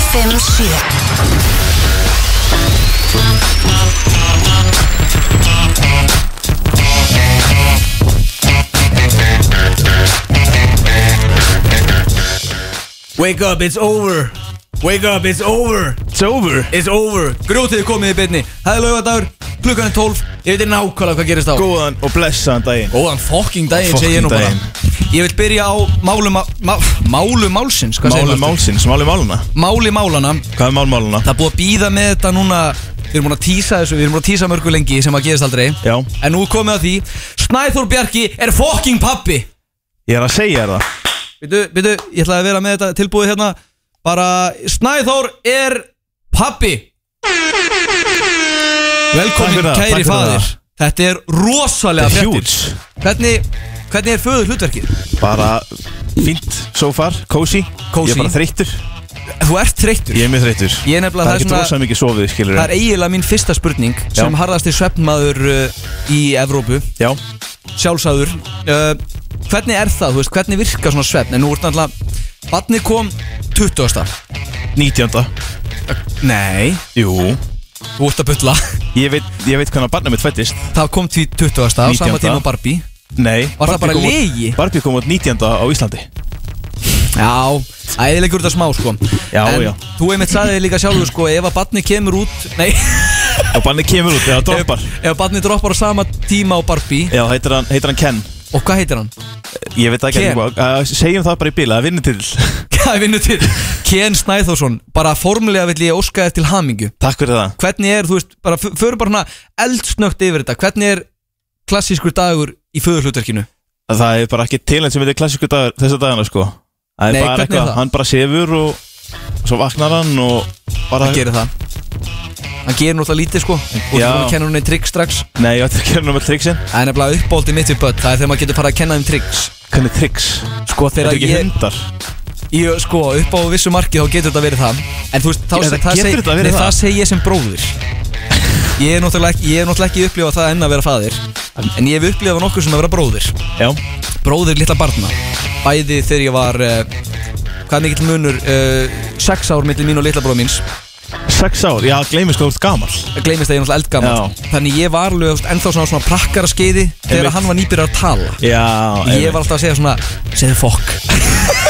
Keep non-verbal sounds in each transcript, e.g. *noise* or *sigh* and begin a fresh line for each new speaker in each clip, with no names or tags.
7
Wake up, it's over Wake up, it's over
It's over
It's over Grjótið er komið í beinni Það er laugadagur Klukkan er 12 Ég veit nákvæmlega hvað gerist á
Góðan og blessaðan daginn
Góðan fokking daginn segi ég nú bara
Fucking
Ég vil byrja á málu, má, má- málu málsins Hvað segir
Máli
maður?
málsins, máli máluna
Máli málana
Hvað er mál máluna?
Það er búið að býða með þetta núna Við erum búin að tísa þessu Við erum búin að tísa mörgu lengi sem að gerist aldrei
Já.
En nú er komið að því Snæþór Bjarki er fokking pappi
Ég er að segja þér það
Býtu, býtu, ég ætlaði að vera með þetta tilbúið hérna Bara, Snæþór er pappi
Takk
Velkomin
fyrir það, takk
kæri
fyrir
faðir
það.
Þetta er rosalega
Þetta er
fréttir
huge.
hvernig, hvernig er föður hlutverkið?
Bara fínt so far, cozy
Cozy.
Ég er bara þreyttur
Þú ert þreyttur
Ég er mjög þreyttur
Ég er
Það
nefnilega það
er ekki
svona-
rosalega mikið sofið, skilur
Það er eiginlega mín fyrsta spurning sem harðasti svefnmaður uh, í Evrópu
Já,
sjálfsagður uh, Hvernig er það, þú veist, hvernig virkar svona svefn? En nú ert náttúrulega, vatni kom 20.
19.
Nei,
Jú
þú ert að bulla
Ég veit, ég veit hvernig að barna mitt fættist
*laughs* Það kom til 20. á sama
19..
tíma og Barbie
Nei
Var það
Barbie
bara
kom út-
lygi?
Barbie kom út 19. á Íslandi
Já, æðilegur þetta smá sko
Já,
en
já.
Þú einmitt sagði þig líka sjálfur sko Ef að batni kemur út *laughs* Nei,
Og barnið kemur út eða
ef,
droppar
ef batni droppar á sama tíma á Barbie
Já, heitir hann, heitir hann Ken
Og hvað heitir hann? *laughs*
Ég veit ekki
Ken.
hvað uh, Segjum það bara í bíla, það vinnur til
Hvað er vinnu til? Ken Snæþórsson Bara formulega vill ég óska þér til hamingu
*laughs* Takk fyrir það
Hvernig er, þú veist, bara f- förum bara hana eldsnögt yfir þetta Hvernig er klassískur dagur í föðurhlutverkinu?
að það er bara ekki til enn sem þetta er klassísku dagur þessa dagana sko það er
Nei,
bara
hvernig er
eitthvað,
það?
hann bara sefur og svo vaknar hann og bara,
Hann gerir það Hann gerir náttúrulega lítið sko Og
Já.
þú kennur henni trikk strax
nei, *laughs* ég ætti að gera náttúrulega triksin
Það er nefnilega uppbóltið mitt við börn Það er þegar maður getur farið að kenna þeim tricks
hvernig triks,
Sko
þetta
þegar
er ekki
ég,
hundar
ég Sko upp á vissu marki þá getur þetta verið það En þú veist þá,
Já, það getur
það, seg,
þetta verið
nei,
það.
það seg ég sem bróðir Ég er náttúrulega ekki, ég er náttúrulega ekki upplifað það enn að vera faðir En ég hef upplifað nokkur sem að vera bróðir
já,
Bróðir litla barna Bæði þegar ég var uh, Hvað er mikill munur uh, Sex ár millir mín og litla bróð míns
sex ár, já, gleymið sko, þú ert gamal
Gleimist að ég er náttúrulega eldgammal Þannig ég var alveg þú veist, ennþá svona, svona prakkara skeiði Þegar
Einmitt.
hann var nýbyrjar að tala
já,
Ég var alltaf að segja svona Segðu
*laughs*
fokk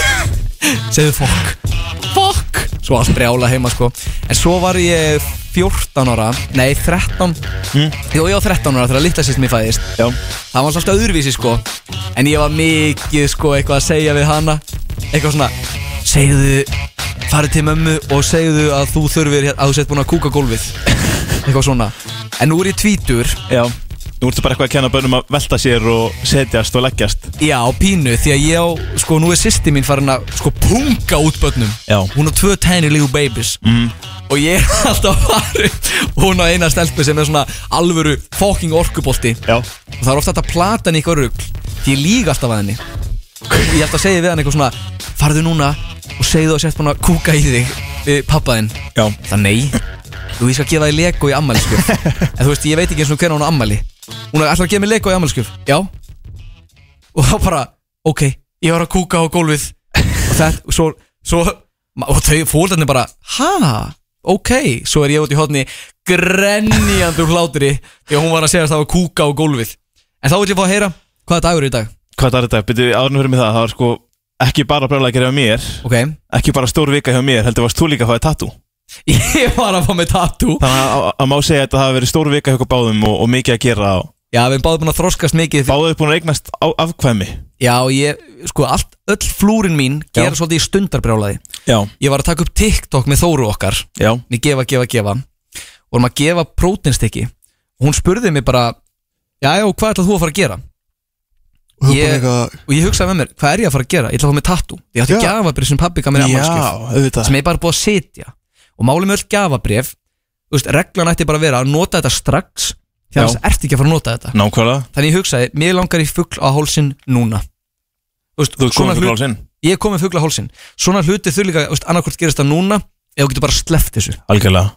Segðu fokk Fokk Svo allt brjála heima sko En svo var ég 14 ára Nei 13
Hm?
Jó ég var 13 ára þegar litla sýst mér fæðist
já,
Það var alltaf öðruvísi sko En ég var mikið sko eitthvað að segja við hana Eitthvað svona Segðu Farið til mömmu og segðu að þú þurfir hér- Að þú sett búin að kúka gólfið *laughs* Eitthvað svona En nú er ég tvítur
já nú ertu bara eitthvað að kenna börnum að velta sér og setjast og leggjast
Já, pínu, því að ég á, sko, nú er sýsti mín farin að, sko, punga út börnum
Já.
Hún á tvö tiny little babies mm. Og ég er *laughs* alltaf farin Hún á eina stelpu sem er svona alvöru fucking orkubolti
já,
Og það er ofta að plata henni í eitthvað rugl Því ég líg alltaf að henni Ég ætla að segja við hann eitthvað svona Farðu núna og segðu að sért búin að kúka í þig Við pappa þinn
já,
Það nei Þú, ég skal gefa þig Lego í ammæliskjöf En þú veist, ég veit ekki eins og hvernig hún á ammæli Hún ætlar að gefa mig Lego í ammæliskjöf Já Og þá bara, ok Ég var að kúka á gólfið Og það, svo, svo ma- Og þau fólkarnir bara, ha? Ok, svo er ég út í hotni Grenjandi úr hlátri Því að hún var að segja að það var kúka á gólfið En þá vil ég fá að heyra, hvaða dagur er í dag?
hvað er þetta, byrju, árnum fyrir mig það það var sko, ekki bara brjóla að gera hjá mér
Ok, *laughs*
ekki bara stór vika hjá mér, heldur varst þú líka að fæða tattoo
ég var að fá með tattoo
Þannig að, að, að má segja að þetta hafi verið stór vika hjá okkur báðum og, og mikið að gera og
Já, við erum báðum búin að þroskast mikið
báðum búin að eignast á, afkvæmi
Já, ég, sko, allt, öll flúrin mín gera svolítið í stundarbrjálaði
Já,
Ég var að taka upp TikTok með Þóru okkar
já,
Mér gefa, gefa, gefa Og erum að gefa prótinstykki Hún spurði mig bara Já, já, hvað ætlað þú að fara að gera?
Og ég,
Ég-
eitthvað,
Og ég hugsaði með mér, hvað er ég að fara að gera? Ég ætla að fá mig tattoo Ég ætla að
Já.
gefa bara sem pappi gaf mér ammálskjöf
auðvitað
Sem ég er bara búið að setja Og máli með öll gafabref Þú veist, reglan ætti bara að vera að nota þetta strax
Já.
Þannig að ertu ekki að fara að nota þetta
Nákvæmlega,
Þannig ég hugsaði, mér langar í fugl á hálsin núna Þú veist,
þú ert
svona
komin
hlut-
fyrir glásinn
ég er komið fugla hálsin svona hluti þurr líka, annarkvort gerist það núna eða þú getur bara sleppt þessu
Algjörlega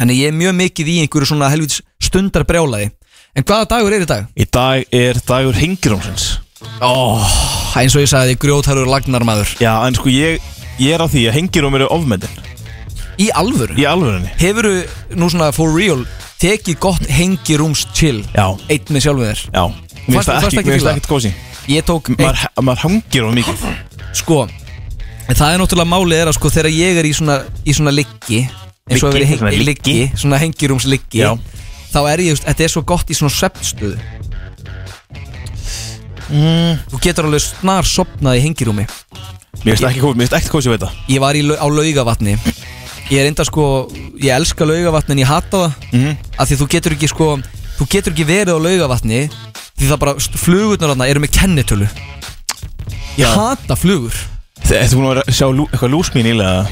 þannig ég er mjög mikið í einhverju svona helvitis stundar brjálaði en hvaða dagur er í dag?
Í dag er dagur hengirjónsins
Oh, eins og ég sagði, grjótharur lagnar maður
Já, en sko ég, ég er á því að hengirjóm eru ofmendin
Í alvöru?
Í alvörinni
Hefurðu nú svona for real tekið gott hengi rúms chill
Já,
Eitt með sjálfu þér
já Mér finnst
Fannst-
það
fannst
ekki,
ekki
mér finnst
fíla?
það ekkert kósi
Ég tók eitt,
Maður maður hangir of mikið
sko en Það er náttúrulega málið er að sko þegar ég er í svona, í svona liggi eins og að
Liggi,
vera
svona
hengi,
liggi.
liggi, svona hengi rúms liggi
Já.
þá er ég, þú veist, þetta er svo gott í svona svefnstöðu
Mm.
Þú getur alveg snar sopnað í hengirúmi
Mér finnst það ekki kósi, mér finnst ekkert kósi við þetta
Ég var í, lau- á laugavatni Ég er enda sko, ég elska laugavatni en ég hata það
Mhm.
af því þú getur ekki sko þú getur ekki verið á laugavatni því það bara st- flugurnar þarna eru með kennitölu
Já.
ég hata flugur
Þe- Ertu búin að vera að sjá lú, eitthvað lúsmín ílega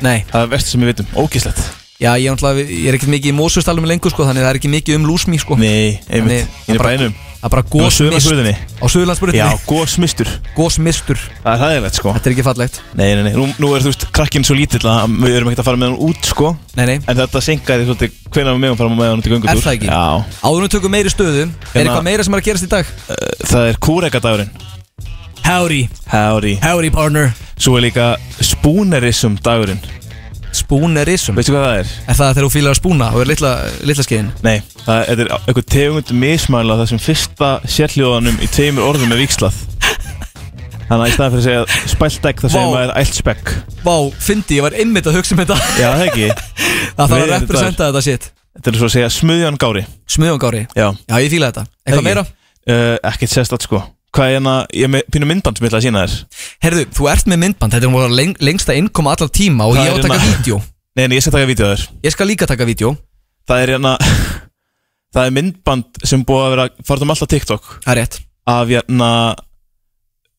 nei,
Það er verst sem við vitum, ógislegt
já ég, náttúrulega- ég er ekkert mikið í mósustalum lengur sko þannig það er ekki mikið um lúsmi sko
Nei, einmitt,
Þannig,
ég er *laughs*
bara-
bænum
það er bara
Nú á
gósmist
Suðurlandsbrautinni. Já,
á Suðurlandsbrutinni,
gósmistur
gósmistur
Það er hæðilegt sko
þetta er ekki fallegt
Nei, nei, nei, nú, nú er þú veist krakkinn svo lítill að við erum ekkert að fara með hann út sko
nei, nei.
En þetta senkaði svolítið hvenær við megum fara með hann út í göngutúr
Er það ekki?
Já,
áðurum tökum meiri stöðu er
Hérna-
eitthvað meira sem er að gerast í dag
Eh, það er kúregadagurinn
howdy,
Howdy
howdy partner
Svo er líka spoonerism dagurinn
spoonerism
Veistu hvað það er?
er það þegar þú fýlar að spúna og er litla, litla skeiðin
Nei, það þetta er eitthvað tegund mismæla þar sem fyrsta sérhljóðanum í tveimur orðum er vikslað Þannig að í staðan fyrir að segja spæltegg það segir
Vá.
maður æltspekk
Vá, fyndi, ég var einmitt að hugsa um þetta
Já, það ekki
Það þarf
Við
að
erum
representa þetta shit
Þetta er svo að segja smuðjan gári
Smuðangári
Já,
Já, ég fíla þetta
Ekki.
Eitthvað meira?
uh, ekkert sérstætt sko Hvað er hérna, ég er með pínu myndband sem ég ætla að sína þér
Herðu, þú ert með myndband Þetta er nú leng, lengsta innkoma allar tíma Og
Það
ég á
er
að taka
hérna-
vídeo
Nei, nei, ég skal taka vídeo þér
Ég skal líka taka vídeo
Það er hérna *laughs* Það er myndband sem búið að vera farið um alltaf TikTok
Það er rétt
af hérna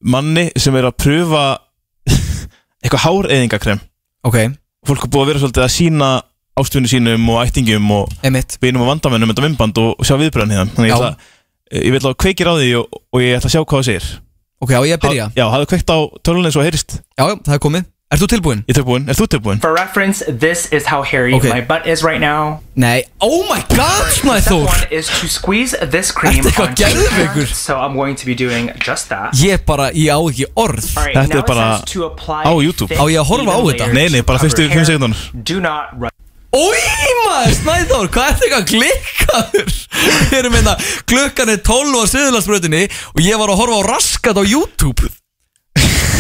manni sem er að pröfa *laughs* eitthvað háreyðingakrem
Ok,
fólk er búið að vera svolítið að sína ástfinu sínum og ættingum og
emitt
vinum og vandamennum þetta vimband og, og sjá viðbröðan hérna þannig ég
Já.
ætla, ég vil að kveikir á því og, og ég ætla að sjá hvað það segir
Ok, á ég að byrja
Ha- Já, hafðu kveikt á tölunni eins og heyrist
Já, já, það er komið Ert þú tilbúinn?
Ég er tilbúin, er þú tilbúin?
For reference, this is how hairy
Okay.
my butt is right now.
Nei, oh my god, smæði
Step
Þór
one is to squeeze this cream
Þetta er eitthvað
onto your hair,
geðveikur.
so I'm going to be doing just that.
Ég bara, ég á ekki orð
All right,
Þetta er
now it
bara
says to apply
á YouTube.
thick,
Á ég að horfa
even
á þetta?
layers
Nei, nei, bara
to
fyrstu
cover
fimm
hair.
sekundunum
Do not rub
Új maður, Snæþór, hvað er þetta klikkaður? Við erum einna, klukkan er 12 á Suðurlandsbröðinni og ég var að horfa á raskat á YouTube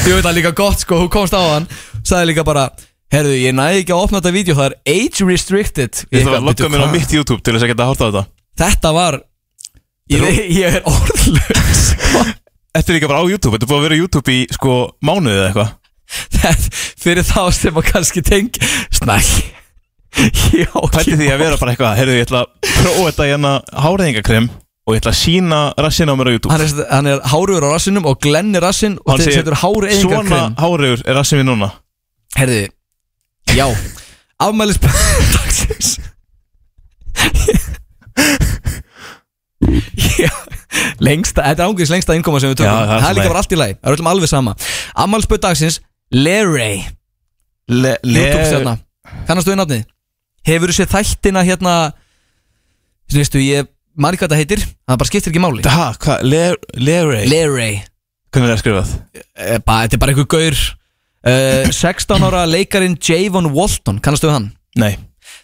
Ég veit það líka gott sko, hún komst á hann Sagði líka bara, herðu, ég næði ekki að opna þetta vídeo, það er age
Ég
restricted Ég
ætla að
eitthvað,
logga
"Bíddu,
mér á
hvað?"
mitt YouTube til þess að geta að horta á þetta
Þetta var, ég,
Þetta
vei- ég er orðlaus sko.
Þetta er líka bara á YouTube, þetta er búið að vera á YouTube í sko mánuðið eða eitthvað
Þetta- Fyrir þá sem að kannski teng Snæ, ég á
Pælti því að vera bara eitthvað, heyrðu ég ætla að prófa þetta hérna háreyðingakrem og ég ætla að sína rassin á mér á YouTube
Hann er, hann er hárugur á rassinum og glennir rassin og
Hann
þeir
segir,
setur háru
Svona
eðingarkrem
háreyður er rassin við núna
Herðu,
*laughs*
já Afmælis *laughs* dagsins Já, Lengsta, þetta er ángriðs lengsta innkoma sem við tökum
Já, það er allt
Það
í
er líka
lagi.
bara allt í lagi, það er öllum alveg sama Afmælisböð dagsins, Larry
Le,
YouTube stjárna Kannastu við nafnið? Hefur þú séð þættina hérna Veistu, ég man ekki hvað það heitir Það bara skiptir ekki máli
Ha, hvað, Le- Larry
Larry,
Hvernig er það skrifað?
eh, bara- þetta er bara einhver gaur uh, 16 ára leikarin Javon Walton, kannastu við hann?
Nei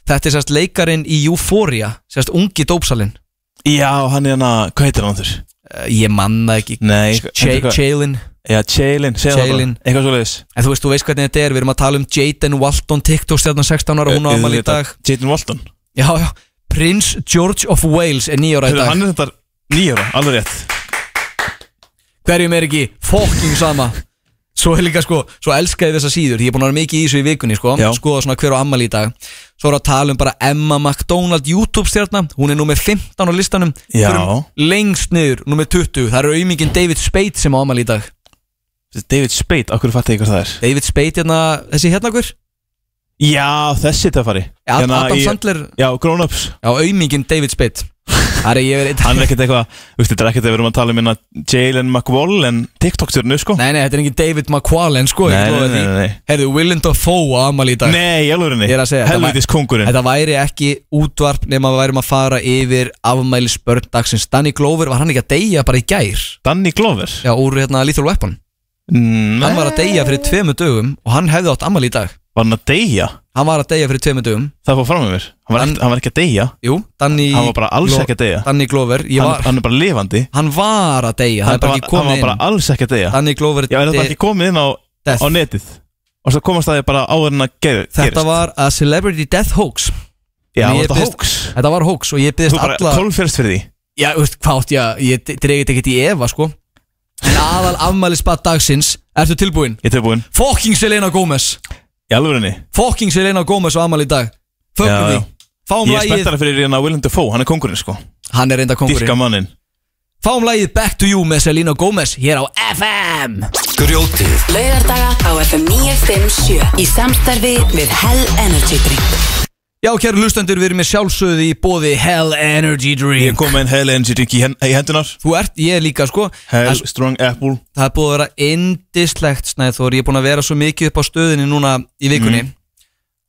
Þetta er sérst leikarin í Euphoria Sérst ungi dópsalinn
Já, hann er hana, hvað heitir hann þurr?
uh, Ég manna ekki
Nei
J- Jalen
Já, Jalen, segja það
Jalen.
bara Eitthvað svo leiðis
En þú veist, þú veist hvernig þetta er Við erum að tala um Jaden Walton TikTok stjarnan 16 ára
Eh,
Hún á amal í dag
Jaden Walton
Já, já Prins George of Wales er nýjóra í
Hörru,
dag
hann er þetta nýjóra, alveg rétt
Hverjum er ekki fokking sama Svo er líka sko, svo elska ég þessa síður Ég er búin að vera mikið í þessu í vikunni sko
Já.
Skoða svona hver á ammali í dag Svo er að tala um bara Emma McDonald YouTube stjarna Hún er nummer 15 á listanum
Já.
Förum Lengst niður, nummer 20 Það er auðmingin David Spade sem á ammali í dag
David Spade, okkur fatt ég hvað það er
David Spade hérna, þessi hérna hver
Já, þessi töffari
Ad Adam
Hérna í-
Sandler,
Já, Grown Ups
já, auðmingin David Spade Það er ég verið
Hann er ekkert eitthvað, þú veist, þetta er ekkert að við erum að tala um hérna Jalen McWall en TikTok-stjórnu, sko
Nei, nei, þetta er engin David McQuallen, sko
Nei, nei, nei, nei, nei.
Herðu, Willem Dafoe á amal í dag
Nei, ég alveg
Ég er að segja, þetta var-
Helvitis kongurinn
Þetta væri ekki útvarp nema við værum að fara yfir afmæli dagsins Danny Glover, var hann ekki að deyja bara í gær?
Danny Glover Mm,
Já, úr hérna Lethal Weapon
Nei,
Hann var að deyja fyrir tveimu dögum og hann hefði átt amal í dag
var hann að deyja?
Hann var að deyja fyrir tveimur dögum
Það fór fram með mér Hann var,
Hann-
ekki, hann var ekki að deyja
Jú, Danny
Hann var bara alls
Glo-
ekki að deyja
Danny Glover Ég
hann,
var
hann er bara lifandi
Hann var að deyja, það er
Hann
bara
var, hann
ekki komið
var
inn
bara alls ekki að deyja
Danny Glover
Já, er
did
þetta ekki komið inn á,
death.
á netið Og svo komast það bara áður en að gerir,
Þetta var a celebrity death hoax
Já,
Nei, ég
þetta
byrst-
hoax
Þetta var hoax og ég
Þú
byggðist
bara
alla
kólfjörst fyrir því
Já, veist, hvað átt ég að, ég dreigit ekkert í Eva sko En aðal afmælisbað dagsins Ertu tilbúinn?
Ég tilbúin
Fucking Selena Gomez
Í alvörinni
Fucking Selena Gomez á afmæli í dag
Já,
Fögnum því
já.
Fáum
Ég er
lagið
spenntara fyrir hérna Willem Dafoe Hann er kongurinn sko
Hann er reynda kongurinn
Dyrka mannin
Fáum lagið Back to You með Selena Gomez Hér á FM
Grjótið
Laugardaga á FM 957 í samstarfi við Hell Energy Drink.
Já, kæru lustendur, við erum með sjálfsögði í bóði Hell Energy
Ég
Drink
kom með en Hell Energy drink í, hen, í hendunar
Þú ert, ég líka sko
Hell
Það-
Strong Apple
Það er búið að vera indislegt Snæþór Ég er búin að vera svo mikið upp á stöðinni núna í vikunni
Mm.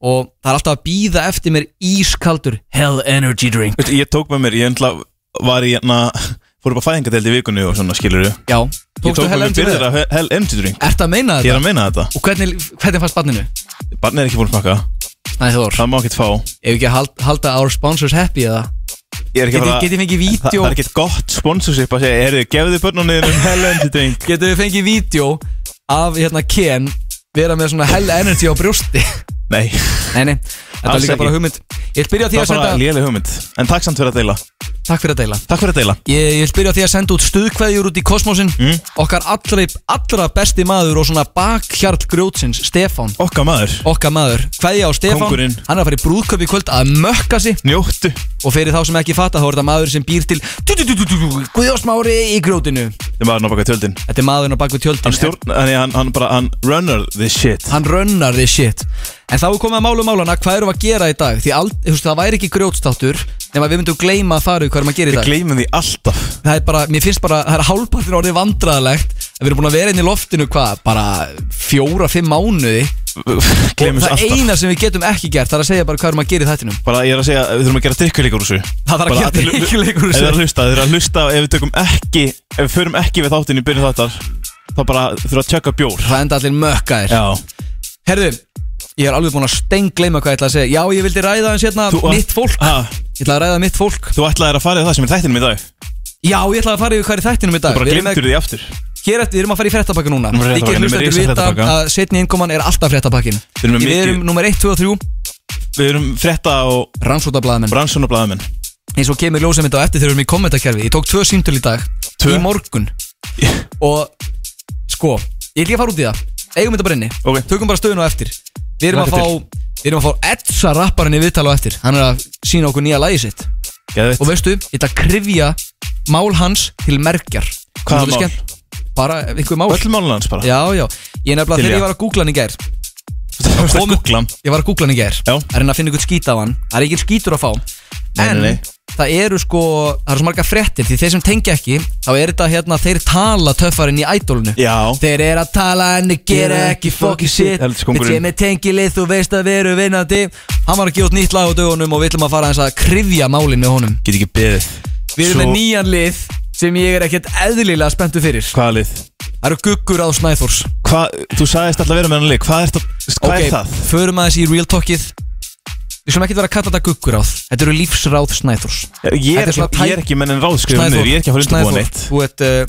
Og það er alltaf að býða eftir mér ískaldur Hell Energy Drink
Veistu, Ég tók með mér Ég endla var í hérna Fór upp á fæðingadeld í vikunni og svona skilur Ég
Já,
tók
tókstu
með
Hell
mér
Energy
byrðir
Drink
af Hell Energy drink
Ertu að meina
Ég
þetta?
er að meina þetta
Og hvernig, hvernig fannst barninu?
Barnið er ekki búin að smaka
Snæþór,
Það má ekkert fá
ef ekki að hal- halda our sponsors happy eða
Ég er ekki að
Getið
fara- *laughs*
geti fengið
Það,
vídeo
það er ekkert gott sponsorship að segja Erðu, gefðu börnunni um Hell Energy drink
Getum við fengið vídeo af hérna Ken vera með svona hell energy á brjósti *laughs*
Nei,
Nei, nei, þetta er
Alls
líka
ekki.
bara hugmynd Ég vil byrja á því
það
að
var bara
senda
léleg hugmynd En takk samt fyrir að deila
Takk fyrir að deila
Takk fyrir að deila
Ég, ég vil byrja á því að senda út stuðkveðjur út í kosmosin
Mm.
Okkar allra, allra besti maður og svona bakhjarl grjótsins, Stefán
Okka maður
Okkar maður, kveðja á Stefán
Kóngurinn.
Hann er að fara í brúðköp í kvöld að mökka sig
Njóttu
Og fyrir þá sem ekki fatta, þá er þetta maður sem býr til Guðjósmári í grjótinu
Þið maður náttúrulega tjöldin
Þetta er maðurinn á bakvið tjöldin
Hann stjórn, hann, hann, hann bara, hann runner this shit
hann runnar þið shit En þá er komið að málu málana, hvað erum við að gera í dag? Því ald, þú veist, það væri ekki grjótstáttur nema við myndum gleyma að fara í hvað erum að gera í
Við
dag
gleymum því alltaf
Það er bara, mér finnst bara, það er hálpartin orðið vandræðalegt að Við erum búin að vera inn í loftinu, hvað, bara fjóra, fimm mánuði
Gleymum
Það
þessu alltaf
eina sem við getum ekki gert, það er að segja bara hvað erum að gera í þættinum
Bara ég er að segja, við þurfum að gera drikkuleikur úr þessu
Það þarf að
Bara
gera
allir-
drykkjuleikur úr
Ef þið er
þessu.
að hlusta, þið er að hlusta Ef við tökum ekki, ef við förum ekki við þáttinn í byrju þáttar Þá bara þurfum að tjöka bjór
Það enda allir mökkaðir
Já
Herðu, ég er alveg búin að stengleima hvað ég ætla að segja Já, ég vildi ræða hans hérna,
Þú-
mitt fólk
ha,
Ég ætla að ræða mitt fólk
Þú ætlaðir að fara í það sem er í þættinum í dag
Já, ég ætla að fara yfir hvað er í þættinum í dag
Bara
Við erum með-
glemtur því aftur
Hér eftir, við erum að fara í fréttapakka núna
Nú erum við
Þið getur
fréttapakkann, við erum með risa
hlustendur vita
fréttapakka.
að setni innkoman er alltaf fréttapakkin
Við erum með
Við
mikið-
erum nummer 1, 2 og 3
Við erum frétta og
Rannsóttablaðamenn
rannsónablaðamenn
Eins og kemur ljósið mitt á eftir þegar við erum í kommentarkerfi Ég tók tvö símtöl í dag
Tvö?
Í
*laughs*
morgun Og sko, ég ætla ekki að fara út í það Eigum þetta bara inni
Ok.
Tökum bara stöðun á eftir Við erum að
Hlakka
fá Við erum að fá Edsa rapparinn í viðtal á eftir Hann er að sína okkur nýja lagi sitt
Geðvitt
Og veistu, ég ætla að krifja mál hans til merkjar
Hvaða
Þetta er
mál?
skemmt. Bara einhver mál
Öll málun hans bara
Já, já, ég nefnilega
Til
þegar
í
ég
að.
var að googla hann í gær
Það komst að googla hann.
Ég var að googla hann í gær
Já.
Að reyna að finna ykkur skít af hann Það er ekki skítur að fá
Nei,
En
nei, nei.
það eru sko, það eru svo marga fréttir Því þeir sem tengja ekki, þá er þetta hérna Þeir tala töffarinn í ædólinu
Já
Þeir eru að tala en þeir gera ekki fucking shit
Heldur skongurinn.
Við með tengilið, þú veist að við erum vinnandi Hann var að gefa út nýtt lag á dögunum Og við ætlum að fara eins að krifja málin með honum
Get ekki beðið
Við erum með
Svo-
nýjan lið sem ég er ekkert eðlilega spenntu fyrir
Hvaða lið?
Það eru guggur á Snæþórs
Hvað, þú sagðist alltaf vera með hann lið Hvað er, það, hvað
Ok,
er það?
Förum aðeins í real talkið Við skulum ekki vera að kalla þetta gugguráð Þetta eru lífsráð Snæþórs
Ég
Þetta er
er,
svona
ekki, ég er
tæ-
ekki menn en ráðskrifum niður Ég er ekki að fara undirbúa neitt
þú ert uh,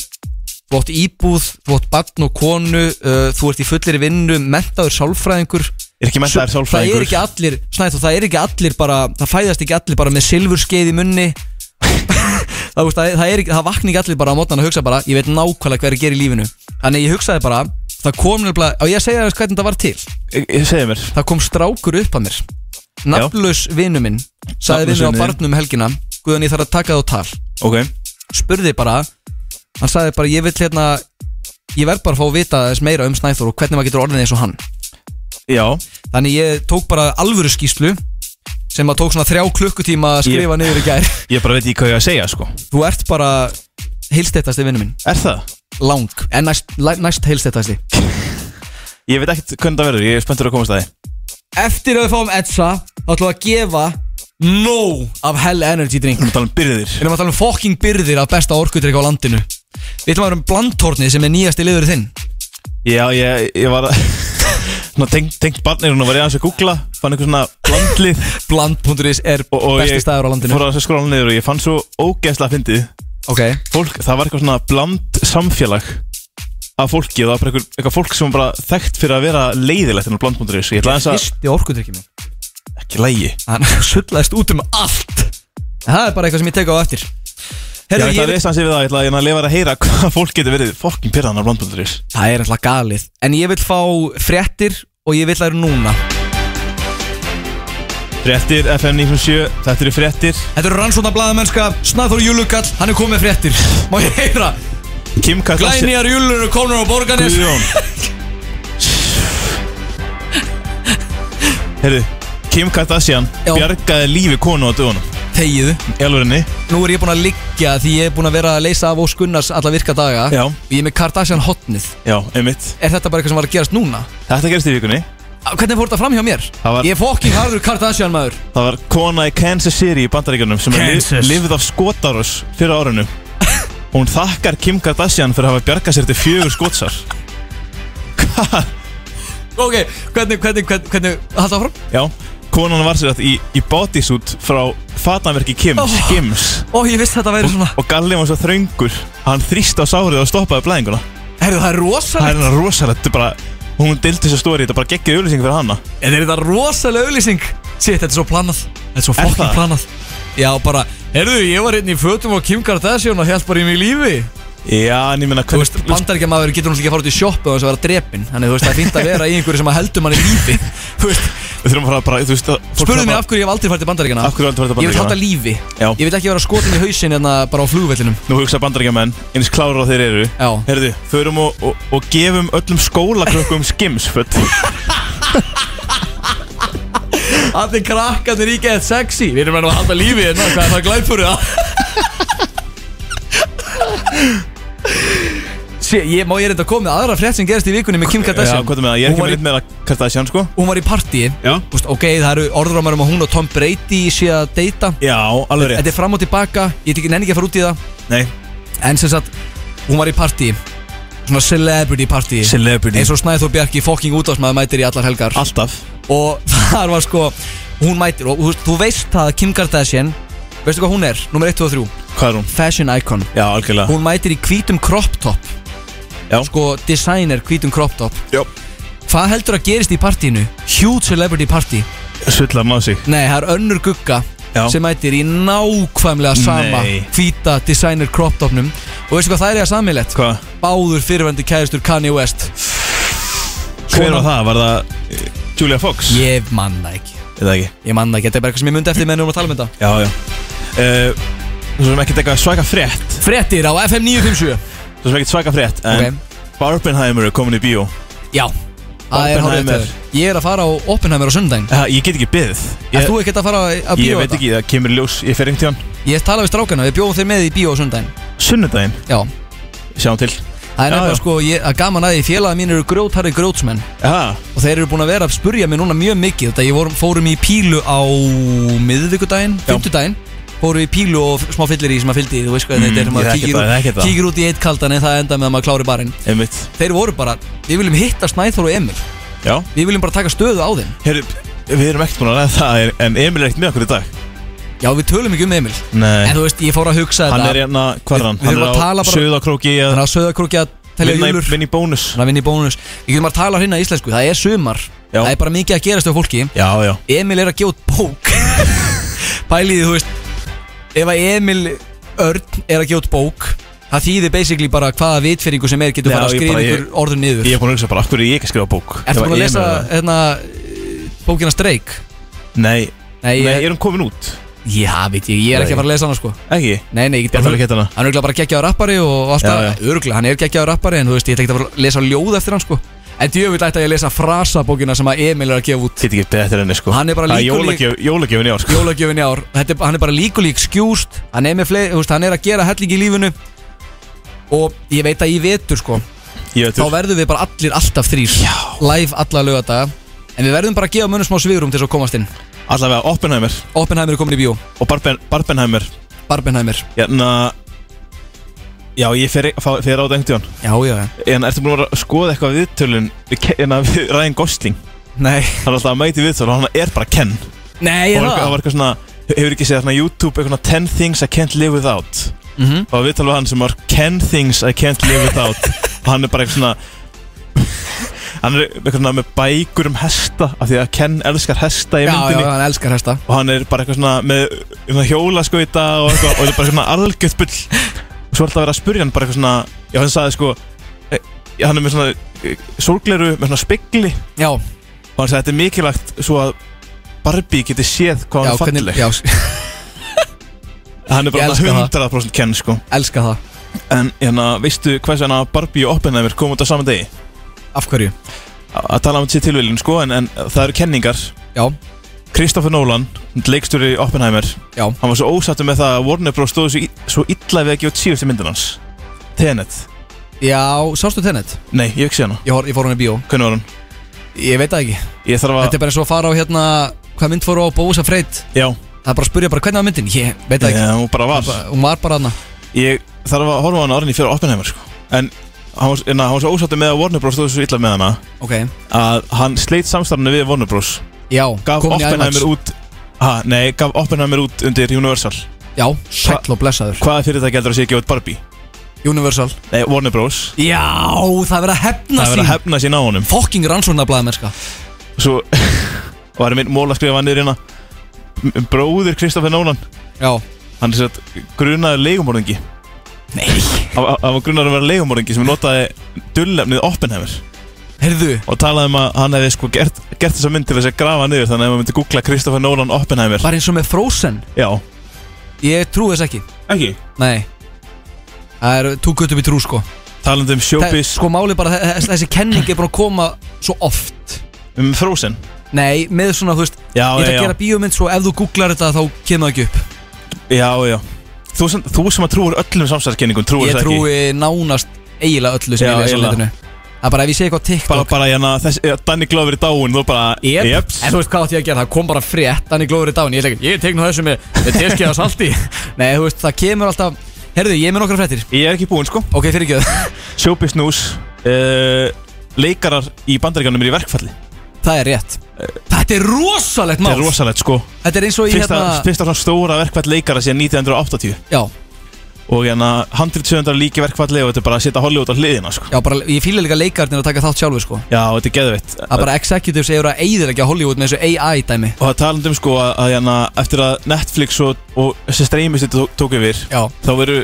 Þú átt íbúð, þú átt barn og konu uh, Þú ert í fullir vinnu, mentaður sálfræðingur
Ég er ekki menn það er
Það er
sálfræðingur
ekki allir, Snæþór, það er ekki allir bara Það fæðast ekki allir bara með silfurskeið í munni *laughs* það, veist, það, það, er, ekki- það vakna ekki allir bara á mótnan að hugsa bara Ég veit nákvæmlega hver að gera í lífinu Þannig ég hugsaði bara, það kom nefnilega Á ég að segja þess hvernig þetta var til
Ég- Ég segi Eh, mér
það kom strákur upp að mér nafnlaus vinnu minn sagði
Nafnlaus
við mig
vinur
á
þinn.
barnum um helgina Guðan ég þarf að taka það á tal
Ok
spurði bara hann sagði bara ég vil hérna ég verð bara að fá að vita þess meira um Snæþór og hvernig maður getur orðin eins og hann
Já
þannig ég tók bara alvöru skýslu sem maður tók svona þrjá klukkutíma að skrifa niður í gær *laughs*
Ég bara veit ekki hvað ég á að segja sko
þú ert bara heilstettasti vinnu minn
Er það?
lang en næst, læ- næst heilstettasti
Ég veit ekkert hvernig það verður Ég er spenntur að komast að því
eftir að við fáum Edsa þá ætlum við að gefa nóg af Hell Energy drink
Við erum að tala um byrðir
Við erum að tala um fokking byrðir af besta orkudrykk á landinu Við ætlum að vera um blandtorni sem er nýjasti liður þinn
Já, ég, ég var að *laughs* svona tengt, tengt barnir og var ég aðeins að googla fann einhver svona blandlið
Bland.is er
og, og
besti
ég
staður á landinu
fór að skróla niður og ég fann svo ógeðslega að fyndið
Ok,
fólk, það var eitthvað svona bland samfélag af fólki og það var bara eitthvað, eitthvað fólk sem var bara þekkt fyrir að vera leiðilegt en á bland.is ég ætla aðeins að
fyrst í orkutrykki mér
ekki lægi
Hann *laughs* sullaðist út um allt En Það er bara eitthvað sem ég tek á eftir
Ég
Herru,
ætla
ég,
að reysa hans yfir það, ég ætla að ég ætla að lifa að heyra *laughs* hvað fólk getur verið fokkin pyrran á bland.is
Það er alltaf galið En ég vil fá fréttir og ég vil að eru núna
Fréttir FM 957, þetta eru fréttir
Þetta eru rannsóndablaða mennska Snæþór Júlugall, hann er komið með fréttir Má ég heyra,
Kim kallar sér-
glænýjar júlur eru komnur á borganes
Guðjón Herðu, Kim Kardashian
Já.
bjargaði lífi konu á dögunum
Þegiðu
Í alvörinni
Nú er ég búinn að liggja því ég er búinn að vera að leysa af Ós Gunnars alla virka daga
Já.
Og ég er með Kardashian hotnið
Já, einmitt
Er þetta bara eitthvað sem var að gerast núna?
Þetta gerist í vikunni
Á, Hvernig fór þetta fram hjá mér?
Það var-
Ég er fokking harður Kardashian maður
Það var kona í Kansas City í bandaríkjunum sem er
Kansas.
lif, lifið af skotárus fyrir árinu Hún þakkar Kim Kardashian fyrir að hafa bjargað sér til fjögur skotsar
Ok, hvernig, hvernig, hvernig, hvernig Hald áfram
Já, konan var sér að í, í bodysuit frá fatanverki Kims,
Oh.
Kims
Ó, ég vissi þetta væri svona
og gallið var svo þröngur að hann þrýst á sárið og stoppaði blæðinguna
Herðu, það er
Það er
rosaleg
hennar rosalegt, þetta er bara Hún dildi þessu stóri, þetta er bara geggið auðlýsing fyrir hana
Er þetta rosaleg auðlýsing? Sitt, þetta er svo planað Þetta er svo
Er það?
fokking planað Já, bara, herðu, ég var hérna í fötum á Kim Kardashian og held bara í mig lífi
Já, en ég meina
Þú veist,
hvernig
bandaríkjamaður getur náttúrulega ekki að fara út í sjoppu og þess að vera drepin Þannig, þú veist, það er fínt að vera í einhverju sem að heldur manni lífi *laughs* Þú veist,
Við þurfum að fara bara, þú veist að- fólk
spurðu
þarf
mig
bara-
af hverju ég hef aldrei farið til bandaríkjana
Af hverju aldrei farið til
Ég vil halda
Bandaríkjanna?
lífi
Já.
Ég vil ekki vera skotin í hausin en bara á flugvellinum
Nú hugsa bandaríkjamenn, eins klárar á þeir eru
Já.
Herðu, förum og, og, og gefum öllum skólakrökkum skimsföt
Allir krakkarnir í get sexy Við erum að halda lífi hérna, hvað er það glæpur *laughs* Sér, ég má ég reynda að koma með aðra frétt sem gerist í vikunni með Kim
Já,
*laughs* Kardashian
hvað er með það? Ég er
Hún
ekki
var
með
í-
neitt með það Kardashian, sko
Hún var í partíi
Já.
Þú veist, Ok, það eru orðrómar um að hún og Tom Brady sé að deyta
Já, alveg rétt
Þetta er fram og tilbaka, ég tek- nenni ekki að fara út í það
Nei,
En sem sagt, hún var í partíi Svona celebrity partíi
celebrity
Eins og Snæþór Bjarki fokking útásmaður mætir í allar helgar
Alltaf
Og *laughs* þar var sko, hún mætir Og þú veist, þú veist það að Kim Kardashian Veistu hvað hún er? Númer 1, 2 og 3
Hvað er hún?
Fashion icon
Já, algjörlega
Hún mætir í hvítum crop top
Já.
Sko, designer hvítum crop top
Já.
Hvað heldur að gerist í partíinu? Huge celebrity party
Svullar maður sig
Nei, það er önnur gugga
Já.
sem mætir í nákvæmlega sama
Nei.
hvíta designer crop topnum og veistu hvað það er ég að samilegt?
Hvað?
Báður fyrirvendu kæðistur Kanye West
Hver
Konan-
var það? Var það eh, Julia Fox?
Ég manna ekki
Ég veit það ekki
Ég manna ekki, þetta er bara eitthvað sem ég myndi eftir meðan við vorum að tala um þetta
Já, já Eh, Svo sem ekki taka svaka frétt
Frettir á FM 957
Svo sem ekki svaka frétt En
Ok.
Barbenheimer er komin í bíó
Já, það er hálfrið
Oppenheimer.
þetta Ég er að fara á Oppenheimer á sundaginn
Ha, Ég get ekki beðið
Er
Ég,
þú ekkert að fara að
ég
bíó
veit ekki, það kemur í ljós Ég fer einhvern tíðan
Ég tala við strákana, við bjóðum þeir með í bíó á sundaginn
Sunnudaginn,
Já,
sjáum til
það
Já,
er nefnilega
já.
sko ég, að gaman að því félaga mín eru grjótarri grjótsmenn
Aha,
og þeir eru búin að vera að spurja mig núna mjög mikið þetta ég vorum, fórum í pílu á miðvikudaginn,
Já.
fymtudaginn fórum í pílu og smá fyllir í sem að fyldi þú veist hvað
Mm,
þetta er,
ég
maður
þekki það, ég þekki
kíkir, út-
það.
kíkir út í eitt kaldan en það enda með að maður klári barinn
einmitt
þeir voru bara, við viljum hitta Snæþór og Emil
Já
við viljum bara taka stöðu á þeim
Herru, við erum ekkert búin að ræða það en- En Emil er ekkert með okkur í dag
já, við tölum ekki um Emil
Nei
en þú veist, ég fór að hugsa
Hann er
þetta
hérna, hvað er hann?
Við-
Hann
við þurfum að
er
tala
á
bara-
söðakróki
hann
að
er að söðakrúkja að telja
vinna
júlur
í- vinna í bónus
hann vinni í bónus ég getum bara að tala hérna í íslensku, það er sumar
Já.
það er bara mikið að gerast á fólki
Já, já
Emil er að gefa út bók *laughs* pæliði, þú veist ef að Emil Örn er að gefa út bók það þýðir basically bara hvaða vitfyrringu sem er getur
Já,
fara að
ég
skrifa
bara-
ykkur
ég-
orðum niður
Ég er búin að hugsa bara, akkur er ég ekki að skrifa bók
Ertu
Ef
búin að
Emil
lesa
er það?
hérna, bókina Streik?
Nei,
Nei,
nei,
ég,
er hún komin út?
já, veit ég, ég er ekki að fara að lesa hana sko
Ekki?
Nei, nei, ég get
Ég ætla ekki að geta hana.
Hann er örugglega bara geggjaður rappari og allt
Já,
það
já.
Örgulega, hann er geggjaður rappari en þú veist, ég ætla ekki að fara að lesa ljóð eftir hann sko En djöfull ætti að ég lesa frasabókina sem að Emil er að gefa út
Get ekki betur enni sko
Hann er bara
Það
lík og lík-
jólagjöf- Jólagjöfin í ár sko
jólagjöfin í ár Þetta, er- hann er bara líkulík skjúst hann er, með fleiri, þú veist, hann er að gera helling í lífinu og ég veit að í vetur sko,
Ég veit
þá
þú
verðum við bara allir alltaf þrýr live alla lögadaga en við verðum bara að gefa mönnum smá svigrum til þess að komast inn
Allavega Oppenheimer
Oppenheimer er komin í bíó,
og Barben, Barbenheimer
Barbenheimer
Hérna Já, ég fer, fá- fer á þetta einhvern tíðan
Já, já, já
En ertu búin að vera að skoða eitthvað við viðtölun við, Ke- hérna, við Ryan Gosling
Nei,
Hann er alltaf að mæti viðtöl og hann er bara Ken Og
nei,
hann hann var eitthvað svona Hefur ekki séð þarna YouTube eitthvað svona 10 things I can't live without
Mhm.
Og viðtöl var hann sem var 10 things I can't live without Og hann er bara eitthvað svona *laughs* Hann er eitthvað svona með bækur um hesta Af því að Ken elskar hesta í
Já, já,
myndinni
já, hann elskar hesta
og hann er bara eitthvað svona með svona hjólaskauta og eitthvað og þetta er bara svona algjörð bull og svo er alltaf að vera að spurja hann bara eitthvað svona já hann sagði sko e, hann er með svona e, sólgleru með svona spegli og
Já,
hann sagði þetta er mikilvægt svo að Barbie geti séð hvað
já,
hann er
hvernig,
falleg
já,
hann er
Ég
bara
elska það.
100% kenn sko
elska það
en hérna veistu hvers vegna Barbie og Oppenheimer kom út á saman degi
Af hverju?
A- að tala um sér tilviljun sko en, en það eru kenningar
Já,
Kristoffer Nolan, leikstjóri Oppenheimer
Já.
Hann var svo ósattur með það að Warner Bros. stóðu svo, í- svo illa við að gefa út síðustu myndin hans Tenet
já, sástu tennet?
Nei, ég hef ekki sé hana
Ég, hor- ég fór hann í bíó
Hvernig var hann?
Ég veit það ekki
Ég þarf að
Þetta er bara svo að fara á hérna Hvað mynd fór á Bósa Freyt
Já,
Það er bara að spurja bara hvernig var myndin Ég veit það ekki
Já, hún bara var
Bara- Hún var bara hana
Ég þarf að horfa á hana orðinni fyrir Oppenheimer sko. En hann var, na, hann var svo ósattur með að Warner Bros. stóðu svo illa með hana
Ok,
Að hann sleit samstarfinu við Warner Bros.
já
Gaf
komin í IMAX.
Oppenheimer út ha, Nei, gaf Oppenheimer út undir Universal
Já, sæll og blessaður
Hvaða fyrir það gældur að sé ekki út Barbie?
Universal
Nei, Warner Bros.
Já, það er verið að hefna
Það
sín
verið að hefna sín á honum
Fokking rannsóknarblæða
svo *laughs* var minn mól að skrifa niður hérna M- bróðir Kristoffer Nólan
Já
hann er sett grunaður leigumorðingi
Nei
hann hann- hann var grunaður um að vera leigumorðingi sem notaði dullefnið Oppenheimer
Herðu
og talaði um að hann hefði sko gert, gert þessa mynd til þess að grafa niður þannig að ef maður myndi googla Kristoffer Nólan Oppenheimer
Bara eins og með Frozen
já
Ég trú þess ekki
ekki
Nei Það er too good to be true sko
talandi um
Það-
showbiz
Sko máli bara þe- þe- þessi kenning er búin að koma svo oft
um Frozen
Nei, með svona þú veist
já
Ég ætla
já
að gera bíómynd svo ef þú googlar þetta þá kemur það ekki upp
já já þú sem, þú sem að trúur öllum samsæðskenningum trúur
Ég
það ekki
trúi nánast eiginlega öllu sem
Já,
ég lesa á
eiginlega.
netinu Það er bara ef ég sé eitthvað á
bara,
TikTok
bara hérna þessi ja, Danny Glover í dáin þú bara
Jep,
Jeps.
en þú veist hvað átti ég að gera, það kom bara frétt Þannig glóður í dán, ég ætla ekki, ég tek nú þessu með, með teskið að salti *laughs* Nei, þú veist, það kemur alltaf Herðu, ég er með nokkra fréttir
ég er ekki búinn sko
Ok, fyrir ekki
Showbiz News uh, Leikarar í bandaríkanum er í verkfalli
það er rétt Þetta er rosalegt mál
Þetta er rosalegt sko
Þetta er eins og í
Fyrsta,
hérna
fyrsta svona stóra verkfall leikara síðan 1980
Já,
Og hérna 170 líki verkfalli og þetta er bara að setja Hollywood á hliðina sko
já bara, ég fíla líka leikarnir að taka þátt sjálfur sko
Já, þetta er geðveitt
Það er bara executives eru að eiðilegja Hollywood með þessu AI dæmi
Og það talandi um sko að, að hérna eftir að Netflix og, og þessi streymis þetta tó- tók yfir
Já,
Þá veru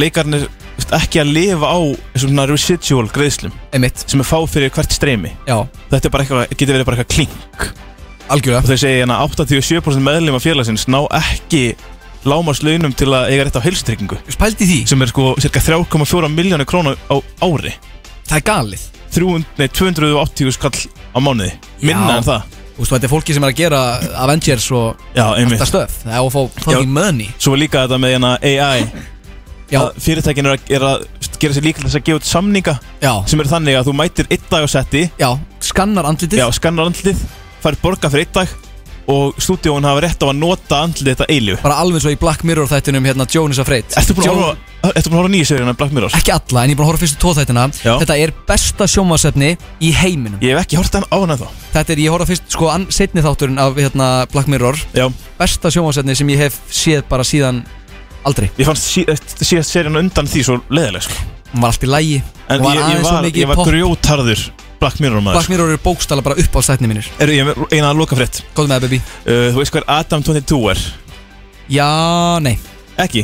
leikarnir ekki að lifa á þessum svona residual greiðslum
einmitt,
sem er fá fyrir hvert streymi
já,
Þetta er bara eitthvað, getur verið bara eitthvað klink og
algjörlega
þeir segja hérna 87% meðlum af félagsins ná ekki lámarslaunum til að eiga rétt á helstryggingu
Spældi því,
sem er sko cirka 3,4 miljónu krónu á ári
það er galið
300, nei, 280 skall á mánuði minna
Já.
en það
Þú veist, þetta er fólki sem er að gera Avengers og
já,
þetta
einmitt
stöf Það er að fá fucking money
svo er líka þetta með hérna AI
Já,
að fyrirtækin er að, er að gera sér líka til þess að gefa út samninga
já,
sem er þannig að þú mætir einn dag á setti
já, skannar andlitið
já, skannar andlið fær borga fyrir einn dag og stúdíón hafa rétt á að nota andlið þetta eilju
Bara alveg svo í Black Mirror þættinum hérna Joan is afraid
Ertu búin að
Joan-
horfa ertu búin að horfa á nýju seríuna Black Mirror?
Ekki alla, en ég er búin að horfa fyrstu tvo þættina
Já.
Þetta er besta sjómasefni í heiminum
Ég hef ekki hort á hana þá
Þetta er, ég horfa fyrst, sko, an, setni þátturinn af hérna, Black Mirror
Já,
Besta sjónvarsetni sem ég hef séð bara síðan aldrei
ég fannst sí, eh, síðast seríun undan því svo leðileg sko.
Hún var allt í lægi
En
Hún
ég, ég
aðeins of
var,
mikið
ég var
pop.
grjótarður Black Mirror maður
Black Mirror er bókstala bara upp á stætni mínir
Eru ég er með eina að loka frétt
Góð með það, baby
uh, Þú veist hver Adam 22 er?
Já, nei
Ekki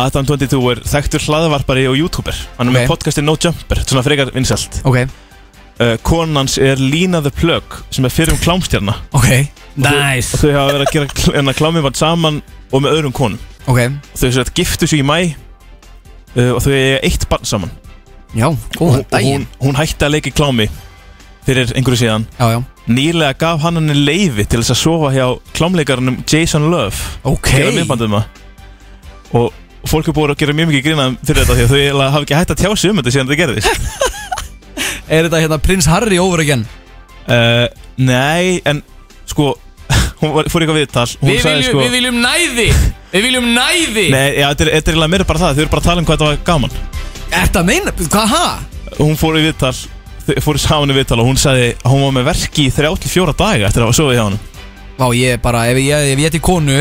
Adam 22 er þekktur hlaðvarpari og youtuber Hann er
Ok.
með podcastin No Jumper Svona frekar vinsælt
Ok,
uh, Konans er Lina the Plug Sem er fyrir um klámstjarna
ok
Og
Nice
þau hafa verið að gera kl- hérna, klámið vann saman Og með öðrum konum
Ok,
Þau sem þetta giftu sig í mæ uh, Og þau eiga eitt barn saman
já, góðan
og, og
daginn
hún, hún hætti að leika í klámi Fyrir einhverju síðan
Já, já,
Nýlega gaf hann henni leifi til þess að sofa hjá klámleikarunum Jason Love
ok
gera myndbandum það og fólk er búin að gera mjög mikið grínað fyrir þetta því að þau eiginlega hafa ekki hægt að tjá sig um þetta síðan þetta gerðist
Er þetta hérna Prins Harry over again?
uh, Nei, en sko *laughs* hún var, fór í eitthvað viðtal hún sagði sko
viljum næði Við viljum næði
Nei, já, þetta er, þetta er eiginlega meira bara það, þau eru bara að tala um hvað þetta var gaman
Þetta meina, hvað ha?
Hún fór í viðtal þau fóru saman í viðtal og hún sagði að hún var með verki í 34 daga eftir að hafa sofið hjá hann
Vá, ég er bara, ef ég, ef ég ætti konu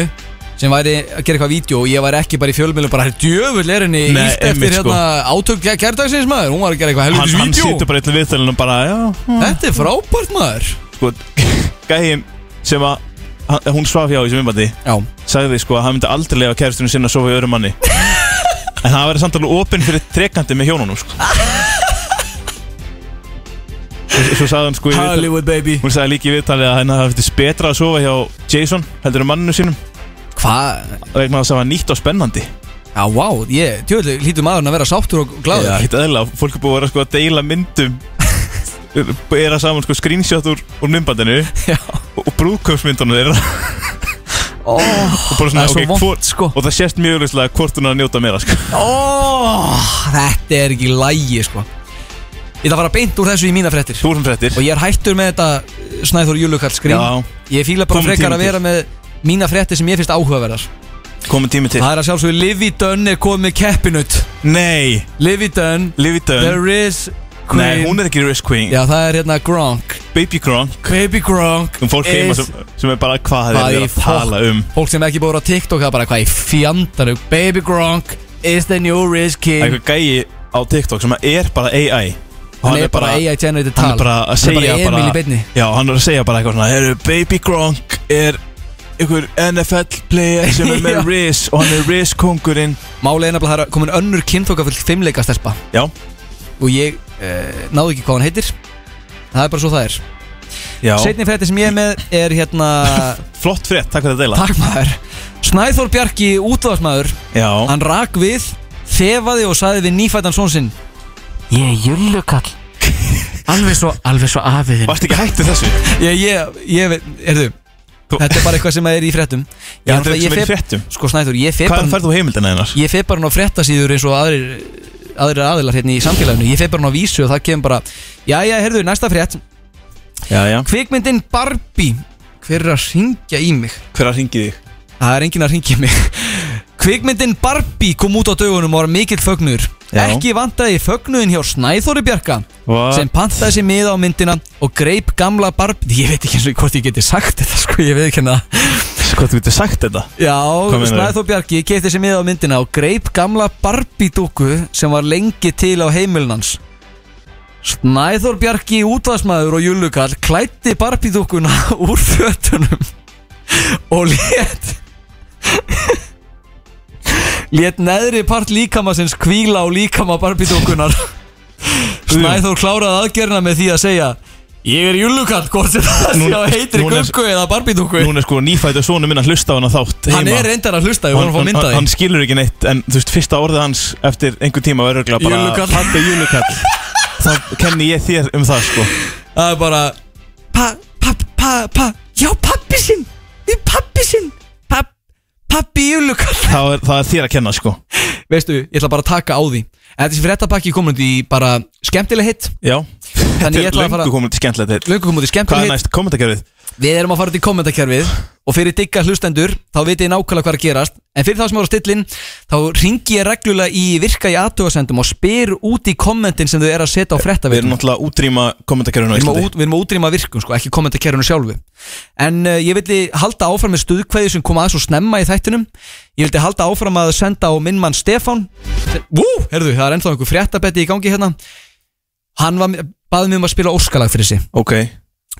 sem væri að gera eitthvað vídeo og ég væri ekki bara í fjölmjölum bara, herr djöfull er henni
Nei,
ílt eftir
einmitt, sko.
hérna átök gær- gærdagsins maður, hún var að gera eitthvað
hann,
helvitis
hann
vídeo
situr Mm. bara í einnig viðtalinu og bara já,
Þetta er frábært maður
sko, *laughs* gæðin sem að hann- hún svaf hjá í sem umbandi
Já,
sagði sko að hann myndi aldrei lefa kæristunum sinna að sofa í öðrum manni en hann verið samt alveg opinn fyrir trekandi með hjónunum sko. svo, svo sagði hann sko í viðtali-
Hollywood baby
hún sagði líka í viðtali að henni hafði fyrst betra að sofa hjá Jason heldur en manninu sínum
Hvað,
vegna þess að það var nýtt og spennandi
já, wow, ég, djöfull hlýtur maðurinn að vera sáttur og
Já,
gláður
ekkert eðlilega, fólk er búið að vera sko að deila myndum *laughs* bera saman sko screenshot úr, úr myndbandinu
*laughs* Já.
og, og brúðkaupsmyndunum þeirra
Ó,
og bara
það
svona,
er svo
ok,
vond,
hvort
sko
og það sést mjög auðvitað hvort hún er að njóta meira sko.
Ó, þetta er ekki lægi, sko Ég ætla að fara beint úr þessu í mína fréttir
Þú erum fréttir
Og ég er hættur með þetta eh, Snæður Júlukall skrýn
Já.
Ég fíla bara
Komum
frekar
tími
að vera með mína fréttir sem ég finnst áhugaverðar
Komum tími til
Það er að sjálfsögðu Livy Dunn er komið með keppinut
Nei,
Livy Dunn,
Livy Dunn
there is
Nei,
Queen
hún er ekki Risk Queen
Já, það er hérna Gronk
Baby Gronk
Baby Gronk
um Fólk heima
is-
sem, sem er bara hvað
Hvað
þeir
í
eru að tala um
Fólk sem ekki búið á TikTok það er bara hvað í fjandanum Baby Gronk is the new Riz
Það er
King
eitthvað gæi á TikTok sem er bara AI Og
Hann er bara AI generated tal
hann er bara að
Hann er
segja
bara Emil í beinni
Já, hann er að segja bara eitthvað svona Heru, Baby Gronk er einhver NFL
*laughs*
player sem er með
Já.
Riz og hann er Riz kongurinn
Málið er nefnilega það er komin önnur kynþókafull fimmleika stelpa
Já,
Og ég uh, náðu ekki hvað hann heitir Það er bara svo það er
já
Seinni frétti sem ég er með er
*laughs*
hérna
Flott frétt, takk fyrir að deila
Takk maður Snæþór Bjarki, útvaðsmaður
Já,
Hann rak við, þefaði og saði við nýfætan són sinn Ég er jullukall Alveg svo, alveg svo afiðin
varst ekki hættu þessu
*laughs* Ég, ég, ég, veit- heyrðu
Þú-
Þetta er bara eitthvað sem er í fréttum
Já, þetta er
náttúrulega-
ekki sem er í
fer-
fréttum
Sko Snæþór, ég feir
Hvaðan
bara
færðu heimildina hennar?
Ég feir bara hann á fréttasíður eins og aðrir aðrir aðilar hérna í samfélaginu Ég feir bara hann á vísu og það kemur bara Jæja, heyrðu, næsta frétt
Já, já
Kvikmyndin Barbie Hver er að ringja í mig?
Hver að ringi þig?
Það er enginn að ringja í mig *laughs* Kvikmyndin Barbie kom út á dögunum og var mikill fögnur
Já.
Ekki vantaði fögnuðin hjá Snæþóri Bjarka
What?
sem pantaði sér miða á myndina og greip gamla Barbie Ég veit ekki eins og hvort ég geti sagt þetta sko, ég veit ekki hérna
Hvað Sko, þú getur sagt þetta?
Já,
Hvað meinarðu?
Snæþór Bjarki keipti sér miða á myndina og greip gamla Barbie dúku sem var lengi til á heimilnans Snæþór Bjarki útvaðsmaður og jullukall klætti Barbie dúkuna *laughs* úr fötunum og lét lét neðri part líkamassins kvíla á líkama Barbie dúkunar Snæþór kláraði aðgerna með því að segja Ég er jullukall, hvort sem það sé
Núna-
á heitri
núna er-
göngu eða Barbie dúku
Núna er sko nýfættu sonu minn að hlusta á hana þátt
Hann
heima.
er reyndar að hlusta, ég vorum að fá að mynda
hann, hann
því
skilur ekki neitt en þú veist, fyrsta orðið hans eftir einhver tíma var örgulega bara *laughs*
Júllukall.
Pabbi júlukall Það kenni ég þér um það sko
Það er bara Pa, pa, pa, pa Já, pappi sinn Við pappi sinn Papp, pappi júlukall
Það er, það er þér að kenna sko
*laughs* Veistu, ég ætla bara að taka á því En þessi fréttapakki kom út í bara skemmtileg hitt
Já
Þannig
Þetta
ég ætla
er
að fara
löngu komin til skemmtilegt þetta
Löngu kom út í
Hvað
skemmtileg
er
hitt
næst? Kommentarkerfið
Við erum að fara út í kommentarkerfið Og fyrir digga hlustendur Þá vitið ég nákvæmlega hvað er að gerast En fyrir þá sem eru á stillin Þá ringi ég reglulega í virka í aðtöðasendum Og spyr út í kommentin sem þau eru að setja á
Við erum
fréttavirnum
náttúrulega að útrýma kommentarkerfinu á
Við erum að
Íslandi
út- við erum að útrýma virkum sko, ekki kommentarkerfinu sjálfu En uh, ég vildi halda áfram með stuðkveði sem kom aðeins og snemma í þættinum Ég vildi halda áfram að senda á minn mann Stefán sem- Vú, herðu, það er ennþá einhver fréttabetti í gangi hérna Hann var, baði mig um að spila óskalag fyrir sig
Ok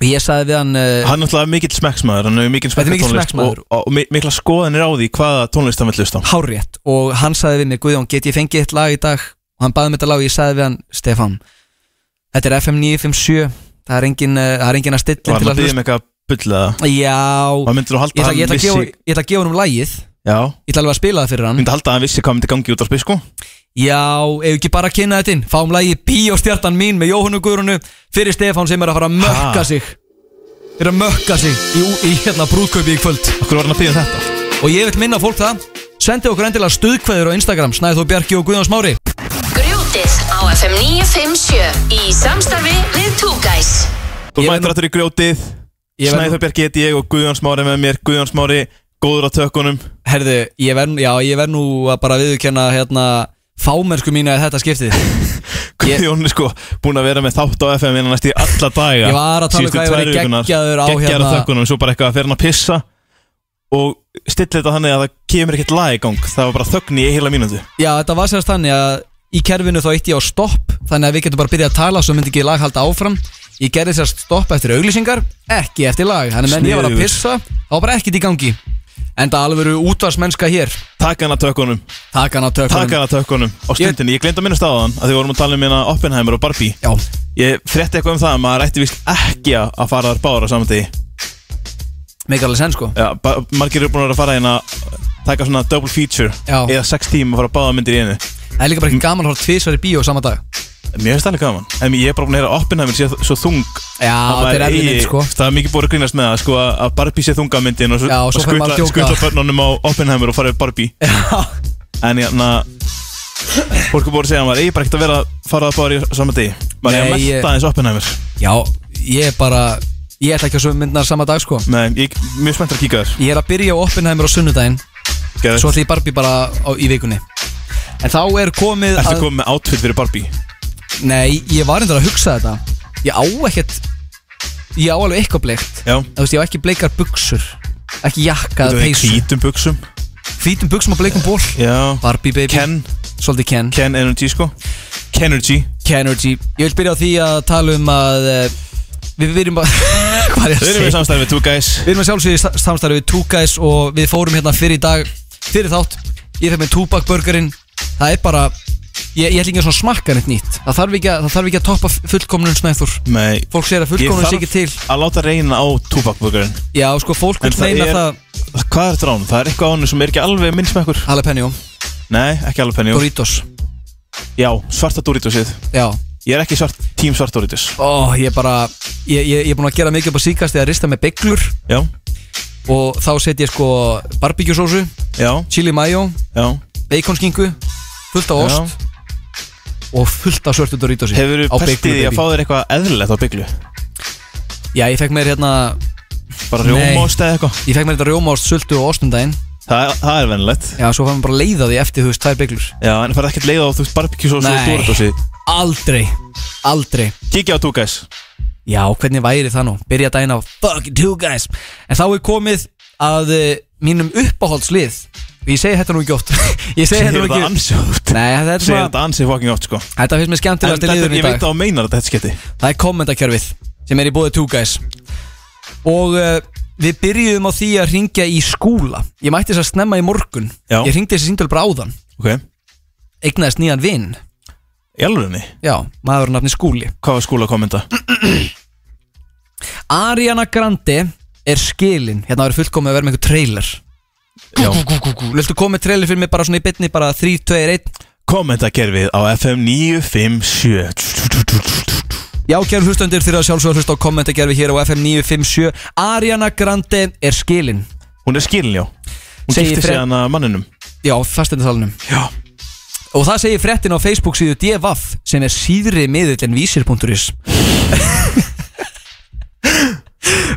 Og ég sagði við hann uh,
Hann er náttúrulega mikill smekksmaður Hann hefur mikill
Þetta er mikill
smekkatónlist og,
smekksmaður.
og, og mi- mikla skoðanir á því hvaða tónlist hann vill hlusta á.
hárétt Og hann sagði við mig, Guðjón, get ég fengið eitt lag í dag Og hann baði mig þetta lag og ég sagði við hann Stefán, þetta er FM 957 Það er engin, uh, það er engin
Var
að stilla
hann að
til að
byggja
hlusta
mig eitthvað bulla
Já,
Hann myndir að
ég
halda
ætla,
að
ég
hann
ætla að gefa,
vissi
ég ætla að gefa hann um lagið
Já
Ég ætla alveg að spila það fyrir hann
Myndi að halda að hann vissi hvað myndi gangi út á spisku
Já, ef ekki bara að kynna þetta inn Fáum lagi Bíóstjartan mín með Jóhannu Guðrunu Fyrir Stefán sem er að fara að mökka
Ha?
sig Er að mökka sig í, í hérna brúðkaupi í kvöld
Okkur var hann að byggja um þetta
Og ég vil minna fólk það Sendi okkur endilega stuðkveður á Instagram Snæðþór Bjarki og Guðjón Smári
Grjótið á FM 957 í samstarfi við 2Guys.
Þú
Ég verð
mætir
nú-
aftur í grjótið
Ég verð nú-
Snæður Bjarki heiti ég og Guðjón Smári með mér Guðjón Smári, góður á tökunum
Herðu, ég verð, já, ég verð nú að bara viðurkenna hérna fámennsku mína í þetta skiptið Ég-
Guðjón er sko búin að vera með þátt á FM innan næst í alla daga
Ég var að tala um
Síðustu
hvað ég væri
tvær vikurnar.
geggjaður á
Geggjaður
hérna-
þökkunum, svo bara eitthvað að fer hann að pissa Og stilla þetta þannig að það kemur ekkert lag í gang Það var bara þögn í heila mínútu
Já, þetta var sérst þannig að í kerfinu þá eitti ég á stopp þannig að við getum bara byrjað að tala svo myndi ekki lag halda áfram Ég gerði sérst stopp eftir auglýsingar ekki eftir lag, þannig að menn ég var að
Sniðugur.
pissa þá var bara ekkert í gangi Enda alvöru útvarsmennska hér
Taka hann að tökkunum,
Takan á
taka
tökunum
hann að tökkunum Á stundinni, ég gleymd að minna staðan að þið vorum að tala um hérna Oppenheimer og Barbie
Já,
Ég frétti eitthvað um það að maður ætti vist ekki að að fara þar bára saman degi
meikar alveg senn sko
Já, ba- margir eru búin að vera að fara hérna taka svona double feature
Já.
eða sex tíma að fara báða myndir í einu
Það er líka bara ekki gaman að horfa tvisvar í bíó sama dag
Mér finnst það alveg gaman En ég er bara búin að heyra að Oppenheimer sé svo þung
Já,
Að
þetta
maður
er erfið
eigi-
mynd sko
Það er mikið búið að grínast með það sko, að- að Barbie sé þungamyndin og, svo-
Já, og
og
svo fer maður að
skutla,
djóka.
skutla börnunum á Oppenheimer og fara við Barbie En hérna Fólk er búið að segja að maður eigi bara ekkert að vera að fara að bára í saman degi Maður eigi að
Nei, ég-
melta aðeins Oppenheimer
Já, ég er bara Ég ætla ekki að sömu myndnar sama dag sko
Nei, ég er mjög spennt að kíka
Ég er að byrja á Oppenheimer á sunnudaginn
þér
Svo ætla ég Barbie bara á, í vikunni En þá er komið
Ertu
að
komið með outfit fyrir Barbie?
Nei, ég var endur að hugsa þetta Ég á ekkert Ég á alveg eitthvað bleikt
Já
Þú veist, ég á ekki bleikar buksur Ekki jakka
Þú
eða
veist,
peysu
hvítum buksum
Hvítum buksum og bleikum ból
Já
Barbie baby
Ken,
Svolítið Ken
Ken Energy sko Kenergy
Kenergy Ég vil byrja á því að tala um að eh, Við verðum að Hvað er ég að *laughs*
Þau
segja?
erum við samstæðið við Two Guys
Við erum að sjálfsögja samstarfi við Two Guys og við fórum hérna fyrir í dag fyrir þátt, ég fekk með Tupac burgerinn það er bara, ég, ég ætla ekki að svona smakka neitt nýtt, það þarf ekki að, það þarf ekki að toppa fullkomnun snæður,
Nei
fólk segir að
Ég
fullkomnun sé ekki til,
þarf að láta reyna á túbakbúkurinn
já sko fólk vil
En það
meina
er-
það,
Hvað er þetta á hann? Það er eitthvað á hann sem er ekki alveg minn smekkur
jalapeno,
Nei, ekki alveg penni
Doritos
Já, svarta Doritosið
já,
Ég er ekki svart, tím svart Doritos
ó ég bara ég, ég, ég er búin að gera mikið upp á síkast eða rista með bygglur
Já,
og þá set ég sko barbíkjusósu,
já,
chili mayo
já
veikonskingu, fullt af ost og fullt af svörtu Doritos
Hefur þú pestið því að fá þér eitthvað eðlilegt á bygglu?
Já, ég fekk mér hérna
Bara
Nei.
rjómást eða eitthvað
Ég fekk mér þetta rjómást, sultu og ostundaginn
það, það er venilegt
Já, svo fannum bara að leiða því eftir, þú veist, tvær bygglur
Já, en það er ekkert leið á þú barbekjus og svo
Nei.
Doritosið
Aldrei, aldrei
Kikið á Two Guys
Já, hvernig væri það nú? Byrja daginn á Fuck two guys En þá er komið að uh, mínum uppáhaldslið Ég segi þetta nú ekki oft *laughs* Ég segi
Segir
þetta nú
þetta
ekki
ansi oft
Nei, þetta er
Segir
svona
þetta ansi fucking oft sko
Þetta finnst mér
En
skemmtilegast í
þetta-
liðurinn í
Ég veit
dag
að þú meinar þetta þetta skipti
Það er kommentarkerfið sem er í bóði 2 guys Og uh, við byrjuðum á því að ringja í skúla Ég mætti þess að snemma í morgun
Já.
Ég ringdi þessi síndal bara áðan
Ok,
Eignaðist nýjan vinn
í alvegni
Já, maður nafni skúli
Hvað var skúla að kommenta?
Ariana Grande er skilin Hérna verður fullkomið að vera með einhver trailer
Já.
Viltu koma með trailer fyrir mig bara svona í bytni Bara 3, 2, 1
Kommentakerfið á FM 957
Já, kæru hlustöndir þeirra sjálfsögur hlust á kommentagerfi hér á FM 957 Ariana Grande er skilin
Hún er skilin, já Hún
Segir
gifti sig
Fred-
hann að manninum
Já, fastindasalunum
Já
Og það segir frettin á Facebook síðu DVAF sem er síðri miðill en vísir.is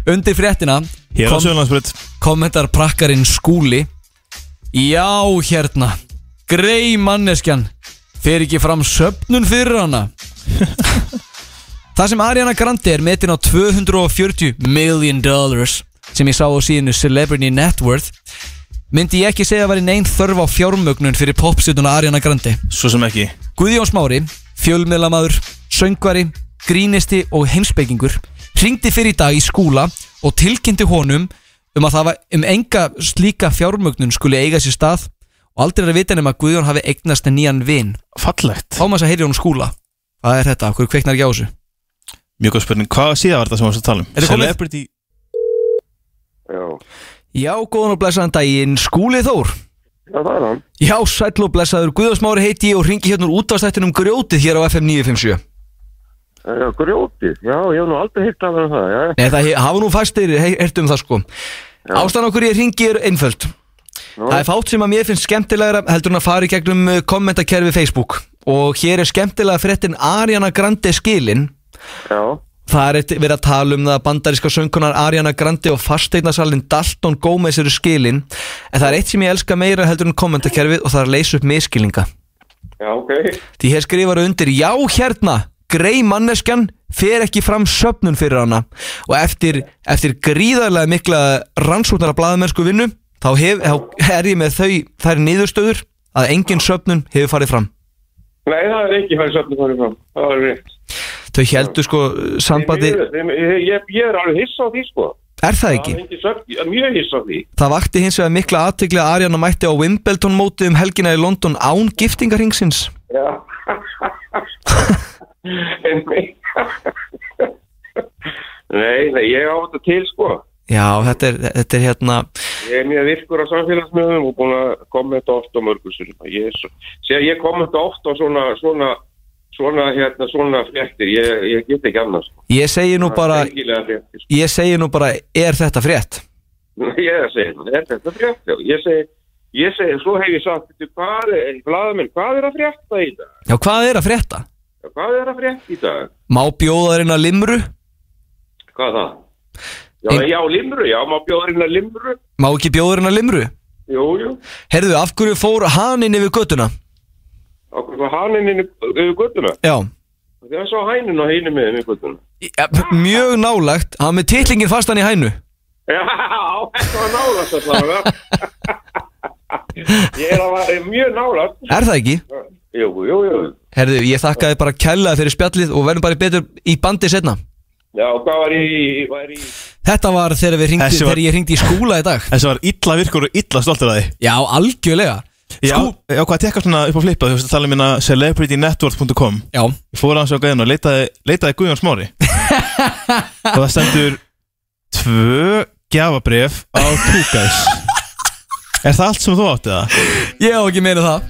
*laughs* Undir frettina
Hér á
kom-
Sjölandsbröð
kommentar prakkarinn skúli Já hérna Grei manneskjan Fer ekki fram söpnun fyrir hana Það sem Ariana Grande er metin á 240 million dollars sem ég sá á síðinu Celebrity Net Worth myndi ég ekki segja að væri neinn þörf á fjármögnun fyrir popsutuna Ariana Grande
Svo sem ekki
Guðjón Smári, fjölmiðlamaður, söngvari, grínisti og heimsbyggingur ringdi fyrir í dag í skúla og tilkynnti honum um að það var um enga slíka fjármögnun skuli eiga sér stað og aldrei er að vita nema að Guðjón hafi eignast nýjan vin
Fallegt
Þá maður að heyri hún skúla Hvað er þetta? Hverju kveiknar ekki á þessu?
Mjög góð spurning Hvað síða var þetta sem við varst að tala um?
Er það komið?
Celebrity
Já,
Já, góðan og blessaðan daginn, skúli Þór
já það er hann.
Já, sæll og blessaður, Guðjón Smári heiti ég og ringi hérna úr útvarstættinum grjótið hér á FM 957
Já, grjóti. Já, ég hef nú aldrei hitt af hann það, já.
Nei, það he- hafa nú fæstir, heyrtu um það sko Ástæðan okkur ég ringi er einföld
Nú.
Það er fátt sem að mér finnst skemmtilegra heldur en að fara í gegnum uh, kommentakerfi Facebook og hér er skemmtilega fréttin Ariana Grande skilin
Já,
Það er eitt- verið að tala um það að bandaríska söngunar Ariana Grande og fasteignasalinn Dalton Gómez eru skilin en það er eitt sem ég elska meira heldur en kommentakerfið og það er að leysa upp miskilninga
já, Já, ok.
Því hér skrifar undir Já hérna, grei manneskjan fer ekki fram söpnun fyrir hana og eftir, eftir gríðarlega mikla rannsóknara blaðamennsku vinnu þá, hef, þá er ég með þau þær niðurstöður að engin söpnun hefur farið fram
Nei, það er ekki farið söfnum farið fram. Það er rétt.
þau heldur sko eh, sambandi
Ég, ég, ég, ég er alveg hissa á því, sko.
er það
Það
ekki?
er engin söfn, ég er mjög hissa á því.
Það vakti hins vegar mikla aðtegli að Ariana mætti á Wimbledon móti um helgina í London án giftingarhingsins
Já. *laughs* en mig. nei, nei, ég á þetta til, sko.
Já, þetta er, þetta er hérna
Ég er mjög virkur á samfélagsmiðum og búin að koma þetta oft á mörgusur. Ég, er svo- sé að ég kom þetta oft á svona, svona, svona, hérna, svona fréttir. Ég, ég get ekki annars. sko.
Ég segi nú bara,
Fengilega fréttir, sko.
ég segi nú bara Er þetta frétt?
Ég er að segja, er þetta frétt? Já, Ég segi, ég segi, svo hef ég sagt, "Bíddu, hvað er, blaðamenn, hvað er að frétta í dag?
Já, hvað er að frétta?
Hvað er að frétta í dag?
Má bjóðarinn að limru?
Hvað er það? Já,
Ein-
já, limru, já, má bjóða hérna limru.
Má ekki bjóðarinn að limru?
Jú, jú,
Herðu, af hverju fór haninn yfir göttuna?
okkur svo hanninn inn yfir guttuna.
Já
Þegar sá hænin og hænum með þeim í guttuna.
Ja, Mjög nálægt, hann með titlingin fastan í hænu
*laughs* Já, þetta var nálast að það var. *laughs* Ég er að vara mjög nálast.
Er það ekki?
Jú, jú, jú.
Herðu, ég þakkaði bara kælaði fyrir spjallið og verðum bara betur í bandi setna
Já, hvað var í, var í,
Þetta var þegar, við hringdi,
Þessi var-
þegar ég hringdi í skúla í dag
Þessi var illa virkur og illa stoltur að því
Já, algjörlega
Já, já hvað tekka svona upp á flipa Þú veist að tala um minna celebritynetwork.com
Já,
Ég fór aðeins okkar inn og leitaði, leitaði Guðjón
*laughs*
Smári Og það stendur Tvö gjafabref á Kúkais Er það allt sem þú átti það?
ég á ekki meina það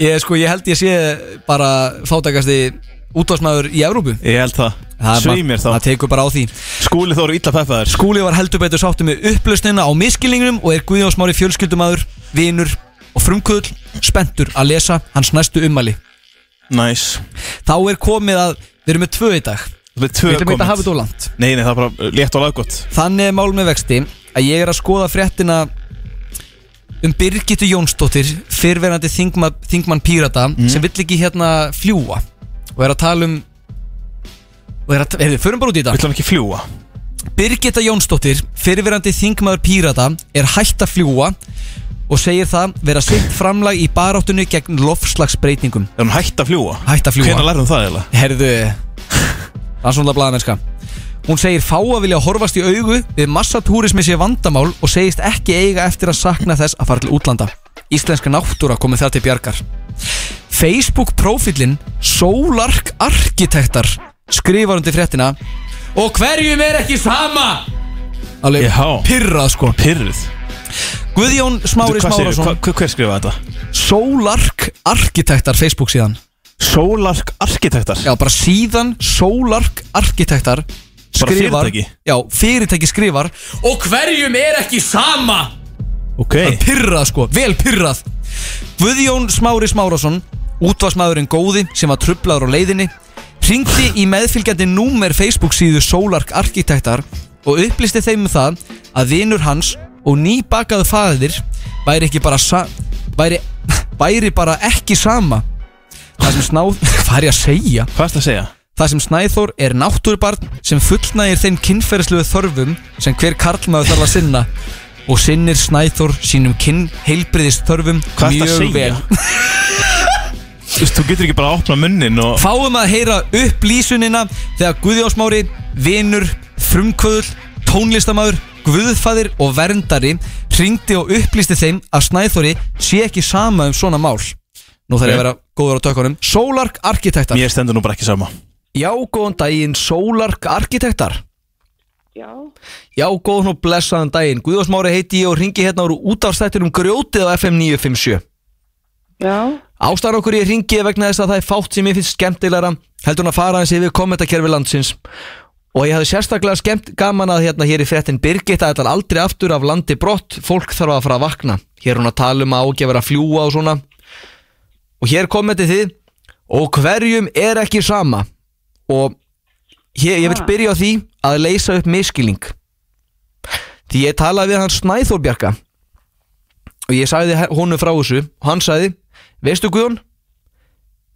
Ég, sko, ég held ég sé bara fátakasti útvarsmaður í Evrópu
Ég held það,
Það er
svei
bara-
mér þá
Það tekur bara á því
Skúli þó eru illa peppaðir
Skúli var heldur betur sáttu með upplausnina á miskilningnum og er Guðjón Smári fjölskyldumadur, vinur og frumkvöðl spenntur að lesa hans næstu ummæli.
Næs
Þá er komið að við erum með tvö í dag.
Það er
Við
tvö
ætlum ekki að hafa þetta of langt.
Nei, nei, það er bara létt og laggott
Þannig er mál með vexti að ég er að skoða fréttina um Birgittu Jónsdóttir fyrverandi þingma, þingmann pírata sem vill ekki hérna fljúa og er að tala um og er að, er þið, förum bara út í þetta
Vill hann ekki fljúa?
Birgitta Jónsdóttir, fyrirverandi þingmaður Pírata, er hætt að fljúa og segir það vera sitt framlag í baráttunni gegn lofslagsbreytingum.
Er hann hægt að fljúa?
Hætt að fljúa.
Hvernig lærðum um það eiginlega?
Herðu, rannsónlega blaðamennska. Hún segir fá að vilja horfast í augu við massatúrismi sé vandamál og segist ekki eiga eftir að sakna þess að fara til útlanda. Íslenska náttúra komið það til bjargar. Facebook profilinn Solark Arkitektar skrifar undir fréttina og hverjum er ekki sama? Alveg
Jahá.
pirrað sko
Pyrruð
Guðjón Smári
Hvað segirðu?
Smárasson
Hva- hver- Hver skrifa þetta?
Solark Arkitektar Facebook síðan
Solark Arkitektar
Já, bara síðan Solark Arkitektar skrifar
fyrirtæki?
Já, fyrirtæki skrifar Og hverjum er ekki sama?
Ok
Það er pyrrað sko, vel pyrrað Guðjón Smári Smárasson Útvarsmaðurinn góði sem var trublaður á leiðinni Hringdi í meðfylgjandi númer Facebook síðu Solark Arkitektar Og upplýsti þeim um það Að vinur hans og nýbakaðu fæðir Væri ekki bara sa væri, *laughs* væri bara ekki sama Það sem snáð *laughs* Hvað er ég að segja?
Hvað er það að segja?
Það sem Snæþór er náttúrubarn sem fullnægir þeim kynferðslegu þörfum sem hver karlmaður þarf að sinna og sinnir Snæþór sínum kyn heilbriðist þörfum
Hvað ertu að
mjög vel.
segja? *laughs* Þú veist, þú getur ekki bara að opna munnin og
Fáum að heyra upp lýsunina þegar Guðjósmári, vinur, frumkvöðul, tónlistamaður, guðfaðir og verndari hringdi og upplýsti þeim að Snæþóri sé ekki sama um svona mál. Nú þarf ég að vera góður á tökunum. Solark Arkitektar.
mér stendur nú bara ekki sama
Já, góðan daginn, Solark Arkitektar Já Já, góðan og blessaðan daginn Guðjóðsmári heiti ég og ringi hérna úr útafstættur um grjótið á FM 957
Já,
Ástæðan okkur ég ringi er vegna þess að það er fátt sem ég finnst skemmtilegra heldur hann að fara hans yfir kommentakerfi landsins og ég hafði sérstaklega skemmt gaman að hérna hér í frettin Birgitta ætlar aldrei aftur af landi brott fólk þarf að fara að vakna hér er hún að tala um að ágefur að fljúa og svona og hér kommentið þið og hverjum er ekki sama og hér, ég vil byrja á því að leysa upp miskiling því ég talaði við hans Snæþórbjarka og ég sagði honum frá þessu og hann sagði veistu Guðjón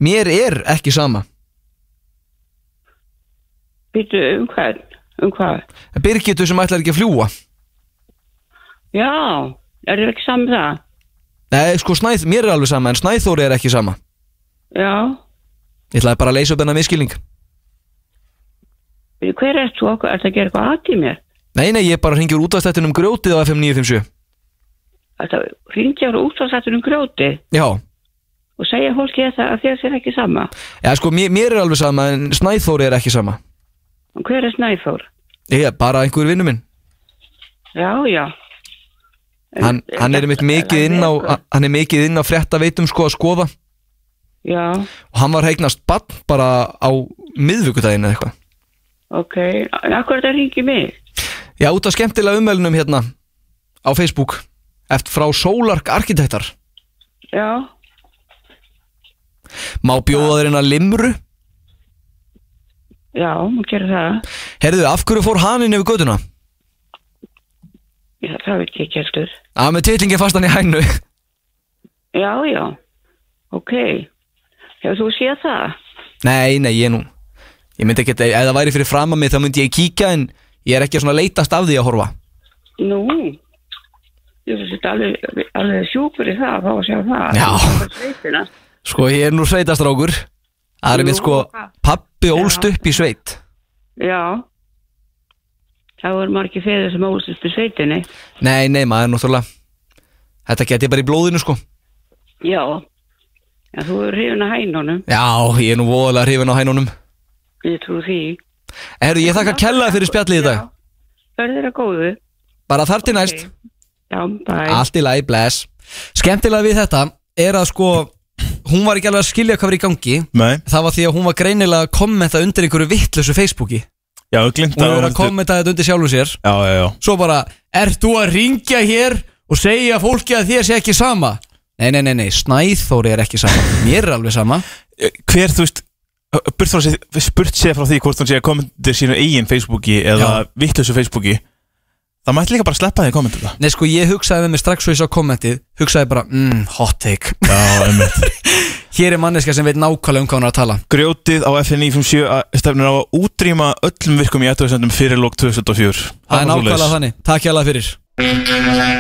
Mér er ekki sama
Býtu, um hvern? Um hvað?
Birgitu sem ætlar ekki að fljúa
Já, er þér ekki saman það?
Nei, sko, snæð, mér er alveg sama En Snæþóri er ekki sama
Já,
Ég ætlaði bara að leysa upp hennar miskilning
býtu, hver er þú okkur? Er það að gera eitthvað aðt í mér?
Nei, nei, ég bara hringjur útastættin um grjótið á FM 957
Er það hringja úr útvarsættur um grjóti
Já,
og segja fólki þetta að þér sér ekki sama?
Já sko, mér, mér er alveg sama En Snæþóri er ekki sama
Og hver er Snæfór?
Ég er bara einhver vinnu minn
Já, já,
Hann, hann er mitt mikið inn á Hann er mikið inn á frétta veitum sko að skoða
já,
Og hann var heignast bann bara á miðvikudaginn eða eitthvað
ok. En akkur er það hringi mig?
Já, út af skemmtilega umvelunum hérna Á Facebook Eftir frá Solark Arkitektar
Já,
Má bjóða þér inn að limru
já, maður gera það.
Herðu, af hverju fór hann inn yfir göduna?
Ég, það veit ég ekki heldur.
Að með titlingi fastan í hænu
Já, já, ok. Hefur þú séð það?
*laughs* Nei, nei, ég nú Ég myndi ekki, ef það væri fyrir fram að mig þá myndi ég kíkja en ég er ekki svona að leitast af því að horfa
Nú, ég finnst þetta alveg, alveg sjúkur í það að fá að sjá það.
Já.
Það er sveitina.
Sko, ég er nú sveitastrákur Það er mitt sko, pappi ólst upp í sveit
Já. Það voru margir feður sem ólst upp í sveitinni.
Nei, nei, maður náttúrulega Þetta get ég bara í blóðinu sko
Já. Já, þú eru hrifin að hænunum.
Já, ég er nú voðalega hrifin á hænunum
Ég trú því.
Herru, ég þakka kellaði fyrir spjallið í dag
Verður þeirra góðu.
Bara þar til næst
Já, bæ.
Allt í lagi, bless Skemmtilega við þetta er að sko Hún var ekki alveg að skilja hvað var í gangi
Nei,
Það var því að hún var greinilega að kommenta undir einhverju vittlösu Facebooki
já, ég glimt
Hún var að kommenta þetta undir sjálfu sér
Já, já, já
Svo bara, ert þú að ringja hér og segja fólki að þér sé ekki sama? Nei, nei, nei, nei, Snæþóri er ekki sama Mér er alveg sama
hver, þú veist burt, frá, sér- burt sér frá því hvort hún sé að komentir sínu eigin Facebooki eða vittlösu Facebooki það mætti líka bara sleppa því að komentir
*laughs*
það
Nei, sko, ég hugsaði með mér strax svo ég sá kommentið Hugsaði bara, mm, hot take
Já, einmitt.
Hér er manneska sem veit nákvæmlega um hvað hún er að tala
grjótið á FNI 57 að- stefnir á að útrýma öllum virkum í aðtöðsendum fyrir lók 2004
Það
var svoleiðis.
er nákvæmlega þannig, takk ég alveg fyrir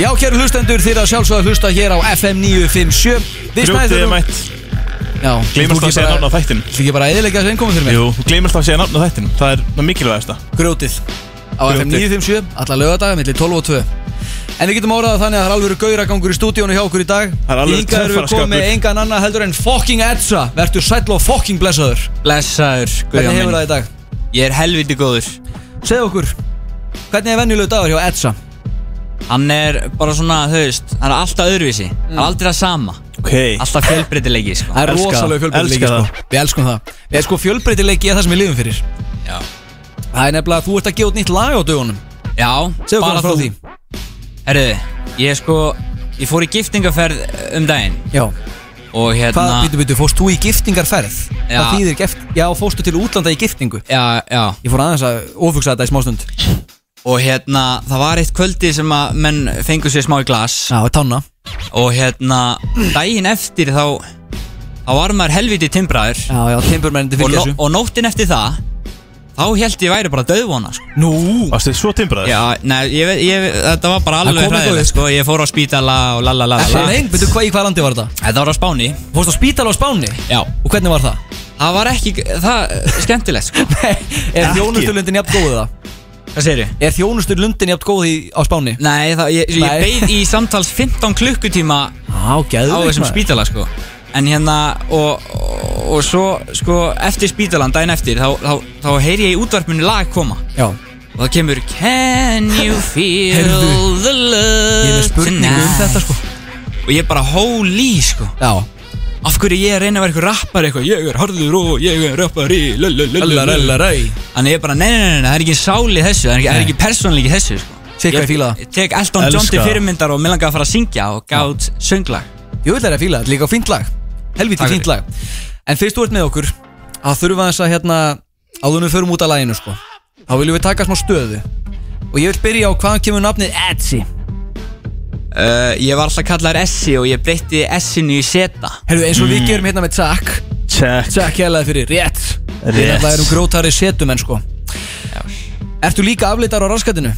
Já, kæru hlustendur, þeir að sjálfsögða hlusta hér á FM 957
grjótið
Við
er
Snæþórum-
mætt
Já,
gleymast að segja nána þættin
Þú ekki bara að eðilegja þessu einkomum fyrir mig
jú, gleymast að segja nána þættin það er það mikilvægasta
Grjótið Á FM
Grjótið.
957, alla lögadaga, millir 12 og 2 En við getum áraðað þannig að það er alveg gauragangur í stúdíónu hjá okkur í dag
Það er alvöru
Hingað erum við
töffaraskapur.
komið engan annað heldur en fucking Edsa Vertu sæll og fucking blessaður
Blessaður, Guðjón
Hvernig hefur
minn
það í dag?
Ég er helviti góður
Segð okkur, hvernig er venjulegu dagur hjá Edsa?
Hann er bara svona, þú veist Hann er alltaf öðruvísi Hann er aldrei að sama
ok,
Alltaf fjölbreytilegi, sko
Mm. Það er
Elska það,
rosalega fjölbreytileiki
elska
sko. Við elskum það Við erum sko fjölbreytileiki er það sem við lifum fyrir
Já.
Það er nefnilega að þú ert að gefa út nýtt lag á dögunum
Já,
Segðu okkur frá því
Herðu, ég sko Ég fór í giftingaferð um daginn
Já
Og hérna
Hvað, býtu, býtu, fórst þú í giftingarferð?
Já.
Það þýðir gift Já, fórstu til útlanda í giftingu
Já, já
Ég fór aðeins að ofugsa þetta í smástund Já,
Og hérna, það var eitt kvöldi sem að menn fengu sér smá í glas
tanna
Og hérna, daginn eftir þá Þá var maður helviti timbraður
Já, já, timburmennandi
og,
fyrir
nó
þessu
og nóttin eftir það Þá held ég væri bara döðvona, sko
Nú
varstu þið svo timbraður
Já, nei, ég, veit- ég, þetta var bara
Það
alveg
kom eitthvað
hræðilegt
upp.
sko. Ég fór á spítala og lalalala
Nei, býtu, hvað í hvað landi var þetta?
Þetta var á Spáni
Fórstu á spítala á Spáni?
Já
Og hvernig var það?
Það var ekki, það skemmtilegt
*laughs*
sko
er þjónustulundin jafn góð það?
Hvað segir þið?
Er þjónustulundin jafn góð í, á Spáni?
Nei, það, ég, ég
Nei.
beið í samtals 15 klukkutíma
Já,
á
geðveikt,
þessum
maður.
spítala sko En hérna, og, og, og svo, sko, eftir spítalan, daginn eftir Þá, þá, þá heyri ég í útvarpinu lag koma
Já,
Og það kemur Can
*laughs*
you feel
Heyrðu,
the love
ég er með spurningu um
tonight?"
þetta sko
Og ég bara, holy sko
Já,
af hverju ég er að reyna að vera eitthvað rappar eitthvað ég er harður og ég er rappari
Allaræ
þannig ég er bara, nei, nei, nei, nei, það er ekki sáli þessu það er ekki, það er ekki persónleiki þessu sko.
Sikka ég fíla það
Ég tek Elton John
Elska
til
það.
fyrirmyndar og mér langaði að fara að syngja og gátt sönglag
Ég vil það að fíla, þetta er líka fínt lag Helviti
Takk
fínt lag En fyrst þú ert með okkur að þurfa þess að hérna áðunum við förum út af laginu sko þá viljum við taka smá stöðu og ég vil byrja á hvaðan kemur nafnið Edsi
uh, Ég var alltaf kallar Essi og ég breytti Essinu í Seta
Herru, eins og
Mm.
við gerum hérna með Jack
Check
Jack hérlega fyrir rétt Við
Rétt.
náttúrulega erum grótari setumenn sko Ertu líka afleitar á
*laughs*
raskatinu?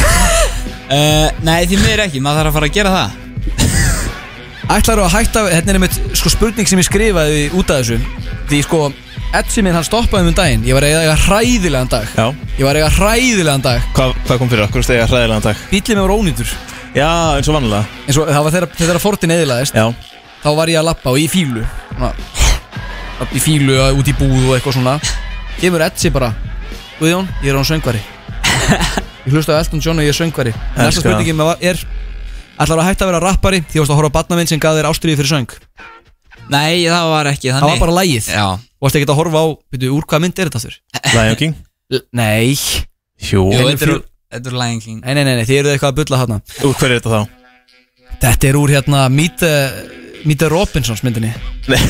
uh, Nei, því miður ekki, maður þarf að fara að gera það
Ætlar að hætta, hérna er einmitt sko spurning sem ég skrifaði út af þessu Því sko, Edsi minn hann stoppaði um daginn Ég var að eiga- eiga hræðilegan dag
Já,
Ég var að eiga hræðilegan dag
hvað, hvað kom fyrir okkur stegja hræðilegan dag?
Bíllinn mér var ónýtur
Já, eins og vanlega
En svo það var þegar, þegar fortin eðilaðist
Já,
Þá var ég að lappa og í fílu svona, Í fílu að- út í búð og eitthvað svona Kemur Edsi bara Guðjón, ég er án
*laughs*
söngvari Ég hlusta á Elton John og ég er söngvari Næsta
Elska það.
spurningin með var- er Ætlar að hætta að vera rappari Því varst að horfa á barnaminn sem gaf þér ástriði fyrir söng
Nei, það var ekki
Það
þannig
var bara lægið
Já,
Og varst ekki að horfa á, veitu, úr hvaða mynd er þetta þurr?
Lion King
Nei
Jú,
Jú,
Helenu
þetta er
fjö-
úr- þetta er Lion King
Nei, nei, nei, nei, þið eruð eitthvað að bulla þarna
úr hverju er þetta þá?
Þetta er úr hérna Meet, uh, Meet the Robinsons myndinni
Nei.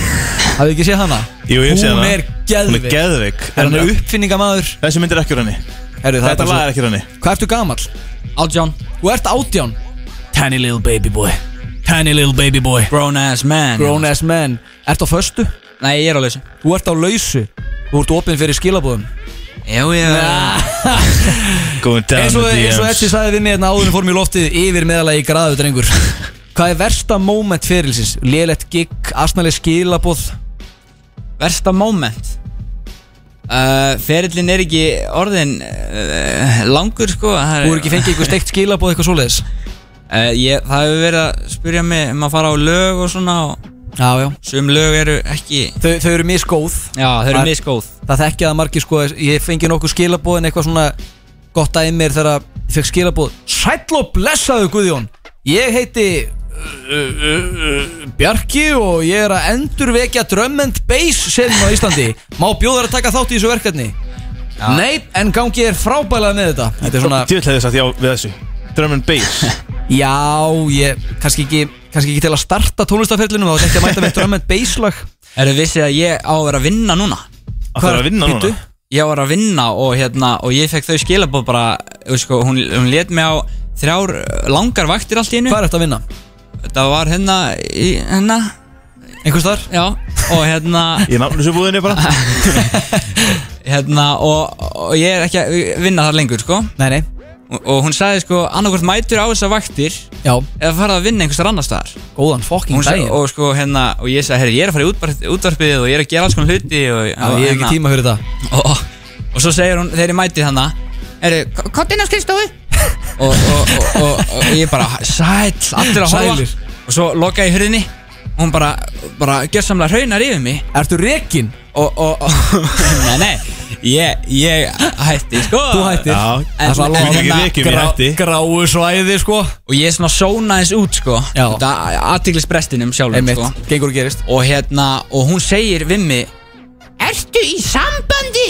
Hafið ekki séð hana?
Jú, ég sé
Hún
hana
er
Hún er
geðvik
geðvik
Er hann uppfinningamaður?
Þessi mynd er ekki úr henni
Herru, það er
Þetta
bara
lag
svo
er ekki úr henni
Hvað ertu gamall?
Átjón
Þú ert átján Tiny little baby boy Tiny little baby boy
Grown ass man
Grown ass man Ert á föstu?
Nei, ég er á lausu
Þú ert á lausu Þú ert opinn fyrir skilabóðum
Já, já
Going down
Eins og,
the DMs
eins og Edsi sagði við mig hérna áður en fórum í loftið Yfir meðalagi graðu drengur Hvað er versta moment fyrirlsins? Lélegt gig, asnaleg skilabóð
Versta moment uh, Ferillin er ekki orðin uh, langur sko það
Þú eru ekki fengið ykkur steikt skilabóð eitthvað svoleiðis
Uh, ég, það hefur verið að spyrja mig um að fara á lög og svona og
Já, já
sum lög eru ekki
Þau, þau eru misgóð
Já, þau eru
Var-
misgóð
Það þekkja það margir sko Ég fengi nokkuð skilabóð en eitthvað svona gott að mér þegar ég fekk skilabóð Sæll og blessaðu Guðjón Ég heiti uh, uh, uh, Bjarki og ég er að endurvekja drum and bass sérinn á Íslandi Má bjóðar að taka þátt í þessu verkefni Nei, en gangi er frábælega með þetta Þetta er svona
Djöfull hefði sagt já við þessu Drum and
*laughs*
bass
Já, ég kannski ekki, kannski ekki til að starta tónlistaferlinum þá þetta mæta með drum and bass lag
Eru vissið að ég á að vera að vinna núna
Það þarf að vinna núna
Bíddu.
Ég á að vera að vinna og hérna og ég fekk þau skilabóð bara þú veist sko, hún, hún let mig á þrjár uh, langar vaktir allt í einu
Hvað er þetta að vinna?
Það var hérna í, hérna,
Einhvers þar?
já og hérna,
*laughs*
Í nafnlösu búðinni bara
hérna og, og ég er ekki að vinna þar lengur sko
Nei, nei,
og, og hún sagði sko annarkvort mætur á þessar vaktir
já,
eða farað að vinna einhvers þar annar staðar
góðan fokking
Hún sagði,
daginn
og sko hérna og ég sagði, herri, ég er að fara í útvarp, útvarpið og ég er að gera alls konar hluti og,
Já,
og, hérna,
ég hef ekki tíma fyrir þetta
og, og, og svo segir hún, þegar ég mæti þannig herri, hvað inn á skrifstofu *laughs* og, og, og, og, og ég bara sæll, allir að horfa
Sælir.
og svo loka ég hurðinni og hún bara, bara gjörsamlega raunar yfir mig
Ertu rekin?
og, og, *laughs* og nei, nei ég, ég hætti sko
Þú hættir
Já,
En-
Það var
en-
alveg
en-
hérna
ekki rekin, ég
grá-
hætti.
Gráu svæði sko
og ég svona sóna þess út sko
Já.
þetta aðtiklisbrestinum sjálfum
Einmitt,
sko
gengur og gerist
og hérna, og hún segir við mig Ertu í sambandi?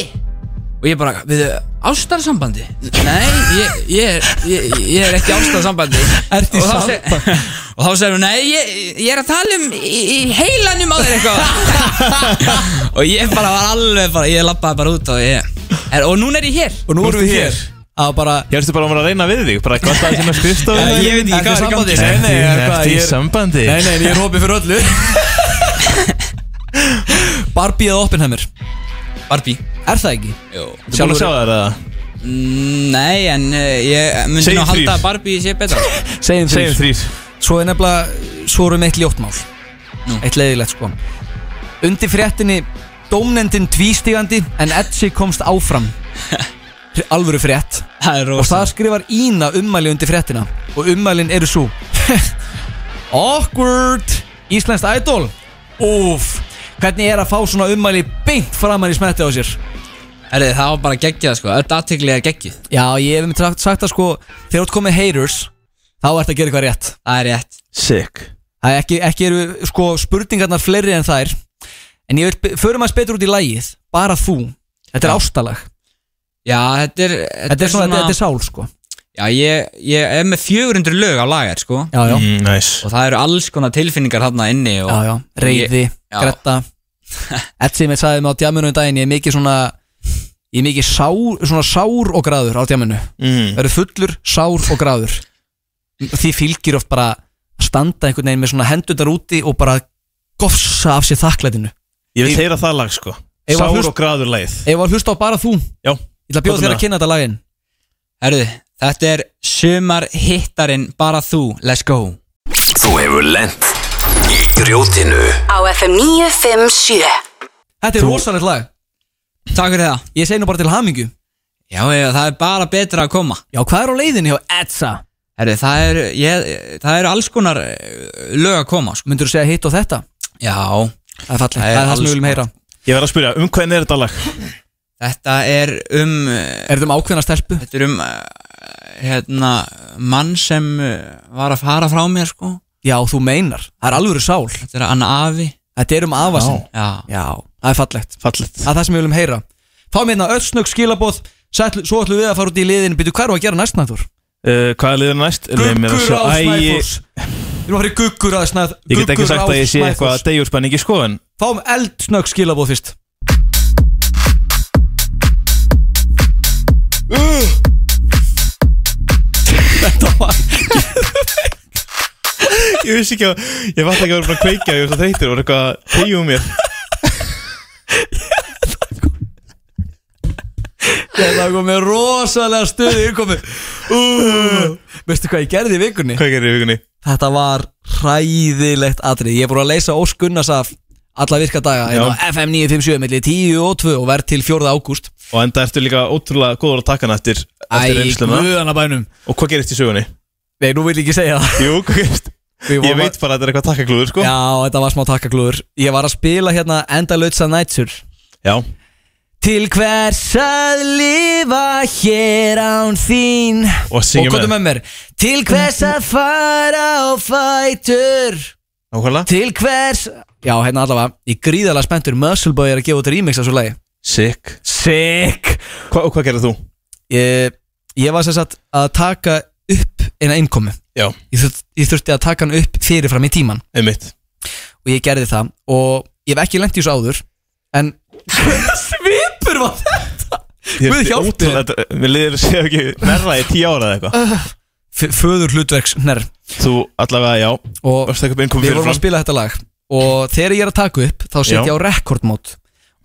Og ég bara, við ástarsambandi? Nei, ég, ég, er, ég, ég er ekki í ástarsambandi
Ertu í
Og þá
sambandi?
seg- Og þá segir hún, nei, ég, ég er að tala um í, í heilanum á þér
*laughs*
eitthvað Og ég bara var alveg bara, ég lappaði bara út og ég er, Og núna er ég hér
Og nú erum við
Þú ert
hér Það var bara
Ég erstu bara að vera að reyna við þig Bara hvað það sem er skrifstofu
Já, ég veit ekki hvað er í gangi. Nei, nei,
Ertu-
hvað,
Ertu
ég
í
er-
sambandi
Nei, nei, en ég er hopið fyrir
*laughs*
öllu Barbie eða Oppenheimer
Barbie
Er það ekki?
Jó
Þú búin að sjá þær eða?
Nei, en eh, ég myndi
Segjum
nú halda
þrír.
að Barbie sé betra
Segjum
*laughs* Segjum
þrýr
þrýr
Svo er nefnilega Svo erum við eitt ljótt mál Eitt leiðilegt sko Undir fréttinni Dómnendin tvístígandi En Edsi komst
*laughs*
áfram Alvöru frétt
Það er
Og
rosa
það skrifar Ína ummæli undir fréttina Og ummælin eru svo Awkward Íslenskt idol Úf Hvernig er að fá svona ummæli beint framan í smetti á sér
Herri, það var bara geggjað sko, öll aðtegli er geggjuð
Já, ég hef mér sagt að sko Þegar þú ert komið haters Þá ert að gera eitthvað rétt
Það er rétt
Sick
Það er ekki, ekki eru sko spurningarnar fleiri en þær En ég vil, be- förum að betur út í lægið Bara þú Þetta er ástalag
Já, þetta er
Þetta er svona, þetta er sál sko
Já, ég, ég er með 400 lög á lagar, sko
Já, já,
mm, nice.
Og það eru alls konar tilfinningar þarna inni og,
já, já, reyði,
Ég- já.
gretta Etsi mér sagði mig á djamunum um daginn Ég er mikið svona Ég er mikið sár, svona sár og gráður á djamunu
mm.
Það eru fullur, sár og gráður Því fylgir oft bara að standa einhvern veginn með svona hendurnar úti og bara gofsa af sér þakklætinu
Ég vil heyra það lag sko
Ef að
Sár
hlust-
og graður leið
Ef að hlusta á bara þú Ég
Já,
ætla að
Hvað
bjóða
er
þér að
það?
kynna þetta laginn
Herðu, þetta er sumar hittarinn bara þú, let's go
Þú hefur lent í grjótinu
Á FM 957
Þetta er rosalegt lag
Takk fyrir það
Ég segi nú bara til hamingju
Já, ég, það er bara betra að koma
Já, hvað er á leiðinni hjá Etsa?
Herðu, það eru ég- það eru alls konar eh, lög að koma, sko
Myndur þú segja hitt og þetta?
Já,
Það er fallið,
Það er
það er það sem
alls
við viljum heyra
ég verð að spyrja, um hvernig er þetta lag?
þetta er um eh,
Er þetta um ákveðna stelpu?
Þetta er um eh, hérna, mann sem eh, var að fara frá mér sko
Já, þú meinar, það er alvöru sál
Þetta er Anna Afi
Þetta er um afasinn
Já,
Já, það er fallegt
Fallegt
Það er það sem við viljum heyra Fáum hérna öll snögg skilabóð sætl, Svo ætlum við að fara út í liðin Býtu hvað er að gera næst nættur?
uh, Hvað er liður næst? Leyf mér að sjá- Æ, ég-
Við erum að fara í guggur að snæð
Ég get ekki sagt að ég sé eitthvað að degjur spenningi sko En
Fáum eld snögg skilabóð fyrst Þetta var
ég vissi ekki að Ég vatn ekki að vera búin að kveikja Ég var svo þreytur og var eitthvað að tegja um mér
Þetta var komið rosalega stuði innkomi uh, Veistu hvað ég gerði í vikunni?
Hvað gerir í vikunni?
Þetta var hræðilegt atrið Ég er búin að leysa Ósk Gunnars af alla virka daga
Já.
hérna á FM 957 milli 10 og 2 og verð til 4. ágúst
Og enda ertu líka ótrúlega góður að taka hann eftir Eftir reynsluna
bænum
Og hvað gerist í sögunni?
Nei, nú vil ég ekki segja það
Jú, hvað gerist?
Við
Ég
vorum
veit bara að þetta er eitthvað takkaklúður sko
að... Já, þetta var smá takkaklúður Ég var að spila hérna Enda Lautsa Nætsur
Já.
Til hvers að lifa hér án þín
Og syngja
Og komdu
með
með mér Til hvers að fara á fætur
Nákvæmlega
Til hvers Já, hérna allavega Ég er gríðarlega spenntur Muscle Boy er að gefa út remix af svo lagi
Sick
Sick
Hva, Og hvað gerir þú?
Ég, ég var sem sagt að taka upp eina innkomi
Já.
ég, þurft, ég þurfti að taka hann upp fyrirfram í tíman
Einmitt
Og ég gerði það Og ég hef ekki lent í þessu áður En Svipur var þetta
Ég-
Guð hjálpi
ótrúlega- þetta- Mér liður að segja ekki Nærra í tíu ára eða eitthvað
F- Föður hlutverks nær
Þú allavega, já
Og
Varst eitthvað innkomi
við
fyrir
vorum að spila þetta lag Og þegar ég er að taka upp Þá setja
Já.
ég á rekordmót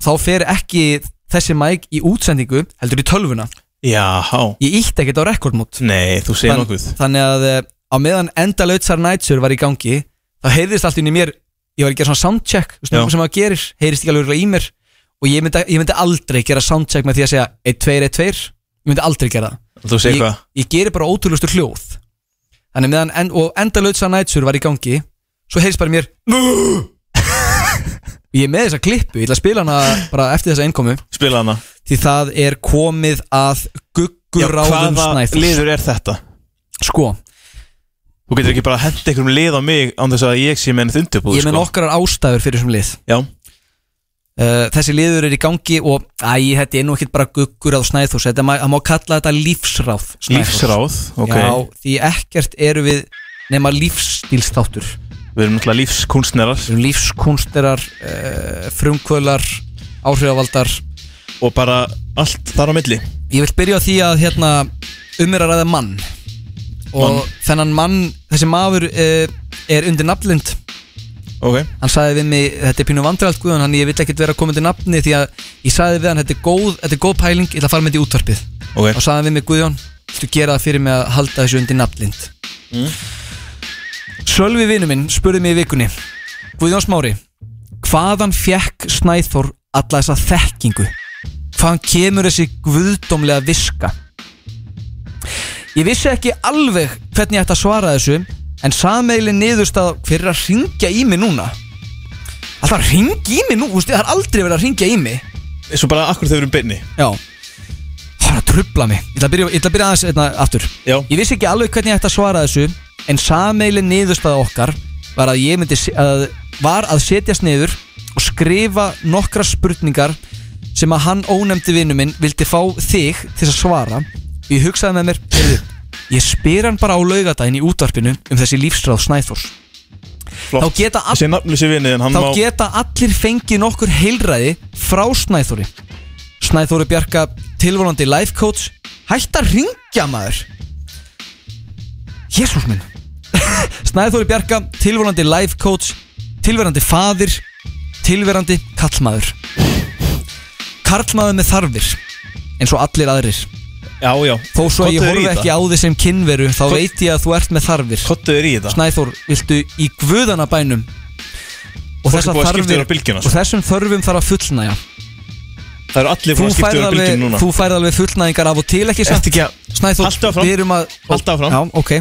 Þá fer ekki þessi mæk í útsendingu Heldur í tölvuna
Já,
Ég ítti ekkert á rekordmót
Nei, þú segir
Þann-
nokkuð
þannig að eh, á meðan enda lautsar nætsur var í gangi þá heyrðist allt inn í mér ég var að gera svona soundcheck þú veist,
Já.
nokkuð sem maður gerir, heyrðist ekki alveg örugglega í mér og ég myndi, ég myndi aldrei gera soundcheck með því að segja 1, 2, 1, 2 ég myndi aldrei gera það
Þú segir
ég,
hvað?
ég geri bara ótrúlustu hljóð þannig meðan en, og enda lautsar nætsur var í gangi svo heyrðist bara í mér "Nú!" ég er með þessa klippu, ég ætla að spila hana bara eftir þessa einkomu
Spila hana
því það er komið að gugguráðum snæður
liður er þetta?
sko,
Þú getur ekki bara að henda einhverjum lið á mig án þess að ég sé með ennþ undirbúð sko.
ég með nokkrar ástæður fyrir þessum lið
Já,
Uh, þessi liður er í gangi og æ, þetta er nú ekkert bara guggur á Snæðhús þetta má, það má kalla þetta lífsráð Snæþórs.
lífsráð Ok,
Já, því ekkert eru við nema lífsstílstáttur við
við erum náttúrulega lífskunstnerar
erum lífskunsterar uh, frumkvölar, áhrifavaldar
Og bara allt þar á milli
ég vil byrja á því að hérna, um er að ræða mann og
Mann.
þennan mann, þessi maður uh, er undir nafnlind
Ok
hann sagði við mig, þetta er pínu vandrælt guðan hann ég vill ekkert vera komið til nafni því að ég sagði við hann, þetta er góð, þetta er góð pæling ég ætla að fara með þetta í útvarpið
Ok,
og sagði hann við mig Guðjón Þú gera það fyrir mig að halda þessu undir nafnlind Sölvi vinnu minn spurði mig í vikunni Guðjón Smári Hvaðan fekk Snæþór alla þessa þekkingu? Hvaðan kemur þessi guðdómlega viska? Ég vissi ekki alveg hvernig ég ætti að svara þessu En sameilin niðurstað fyrir að ringja í mig núna Alltaf að ringja í mig nú, þú veist, það er aldrei verið að ringja í mig
svo bara akkur þau eru byrni
Já Það er að trubla mig Ég ætla að byrja, ég ætla að byrja aðeins einna, aftur
Já.
Ég vissi ekki alveg hvernig ég ætti að svara þessu En sameilin niðurstaða okkar Var að ég myndi se- að, Var að setjast niður Og skrifa nokkra spurningar Sem að hann ónefndi vinnu minn Vildi fá þig til að svara Ég hugsaði með mér heyrðu, Ég spyr hann bara á laugadaginn í útvarpinu um þessi lífsráð Snæþórs Flott. Þá geta
Þessi nafnlu sér vinni en hann
Þá
má
geta allir fengið nokkur heilræði frá Snæþóri Snæþóri Bjarka tilvonandi life coach Hætt að ringja maður Jésús minn *laughs* Snæþóri Bjarka tilvonandi life coach Tilverandi faðir Tilverandi kallmaður Karlmaður með þarfir eins og allir aðrir
Já, já
Þó svo að ég
Kottuður í
horfi
þetta.
ekki á þið sem kynveru Þá
Kott-
veit ég að þú ert með þarfir
Kottu er í þetta
Snæþór, viltu í guðana bænum
Fólk
Og
er búið
þessar
að skipta
þarfir
þér á bylgjuna, sko.
Og þessum þörfum þarf að fullnæja
Það eru allir
Þú
búin að skipta
færð
yfir
alveg,
bylgjum núna
þú færð alveg fullnæðingar af og til ekki samt
Ertu ekki að-
Snæþór,
Haltu áfram.
við erum að
Haltu áfram.
Já, ok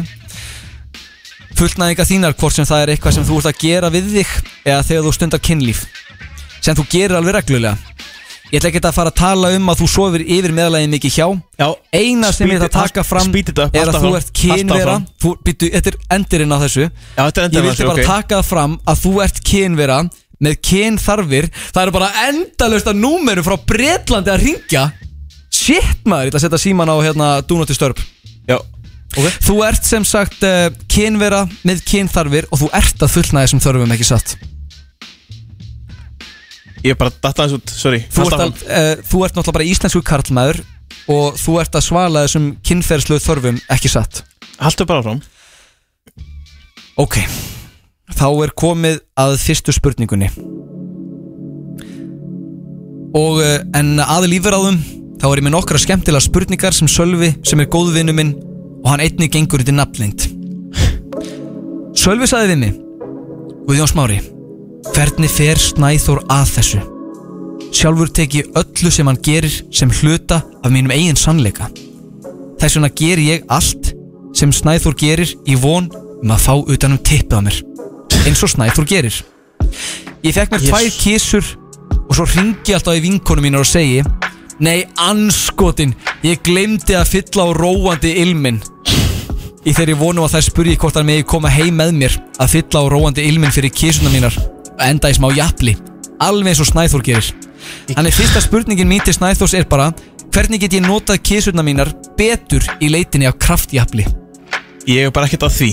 Fullnæðingar þínar hvort sem það er eitthvað sem þú ert að gera við þig eða þegar þú stundar kynlíf sem þú gerir alveg reglulega Ég ætla ekki að fara að tala um að þú sofir yfir meðalagi mikið hjá
Já,
Eina sem
Speed
ég ætla
it-
að taka fram
speed it up,
er
haltu
að þú
áfram,
ert
haltu
kynvera
áfram.
þú, byttu, Þetta er endurinn á þessu
Já, þetta er
Ég
endalega
vildi bara taka það fram að þú ert kynvera með kynþarfir Það eru bara endalaust að númeru frá Bretlandi að ringja Shit maður, ég ætla að setja síman á hérna Dúnótti störp
Já
Þú ert sem sagt uh, kynvera með kynþarfir og þú ert að fullna þessum þörfum ekki satt
Ég er bara datta aðeins út, sorry
Þú
Haltu
ert,
áfram.
að, uh, þú ert náttúrulega bara íslensku karlmaður og þú ert að svala þessum kynferðslu þörfum ekki satt
Haltu bara áfram
Ok, þá er komið að fyrstu spurningunni Og uh, en að lífráðum þá er ég með nokkra skemmtilega spurningar sem Sölvi sem er góðvinu minn og hann einni gengur undir nafnlind Sölvi sagði við mig Guðjón Smári Hvernig fer Snæþór að þessu? Sjálfur tek ég öllu sem hann gerir sem hluta af mínum eigin sannleika Þess vegna ger ég allt sem Snæþór gerir í von um að fá utanum tippið á mér eins og Snæþór gerir Ég fekk mér tvær kísur og svo ringi alltaf í vinkonu mínar og segi Nei, anskotin, ég glemdi að fylla á róandi ilminn Í þeirri vonum að þær spurji hvort hann megi koma heim með mér að fylla á róandi ilminn fyrir kísuna mínar og enda í smá jafli alveg eins og Snæþór gerir Þannig fyrsta spurningin mín til Snæþórs er bara hvernig get ég notað kísuna mínar betur í leitinni af kraftjafli
Ég er bara ekkert að því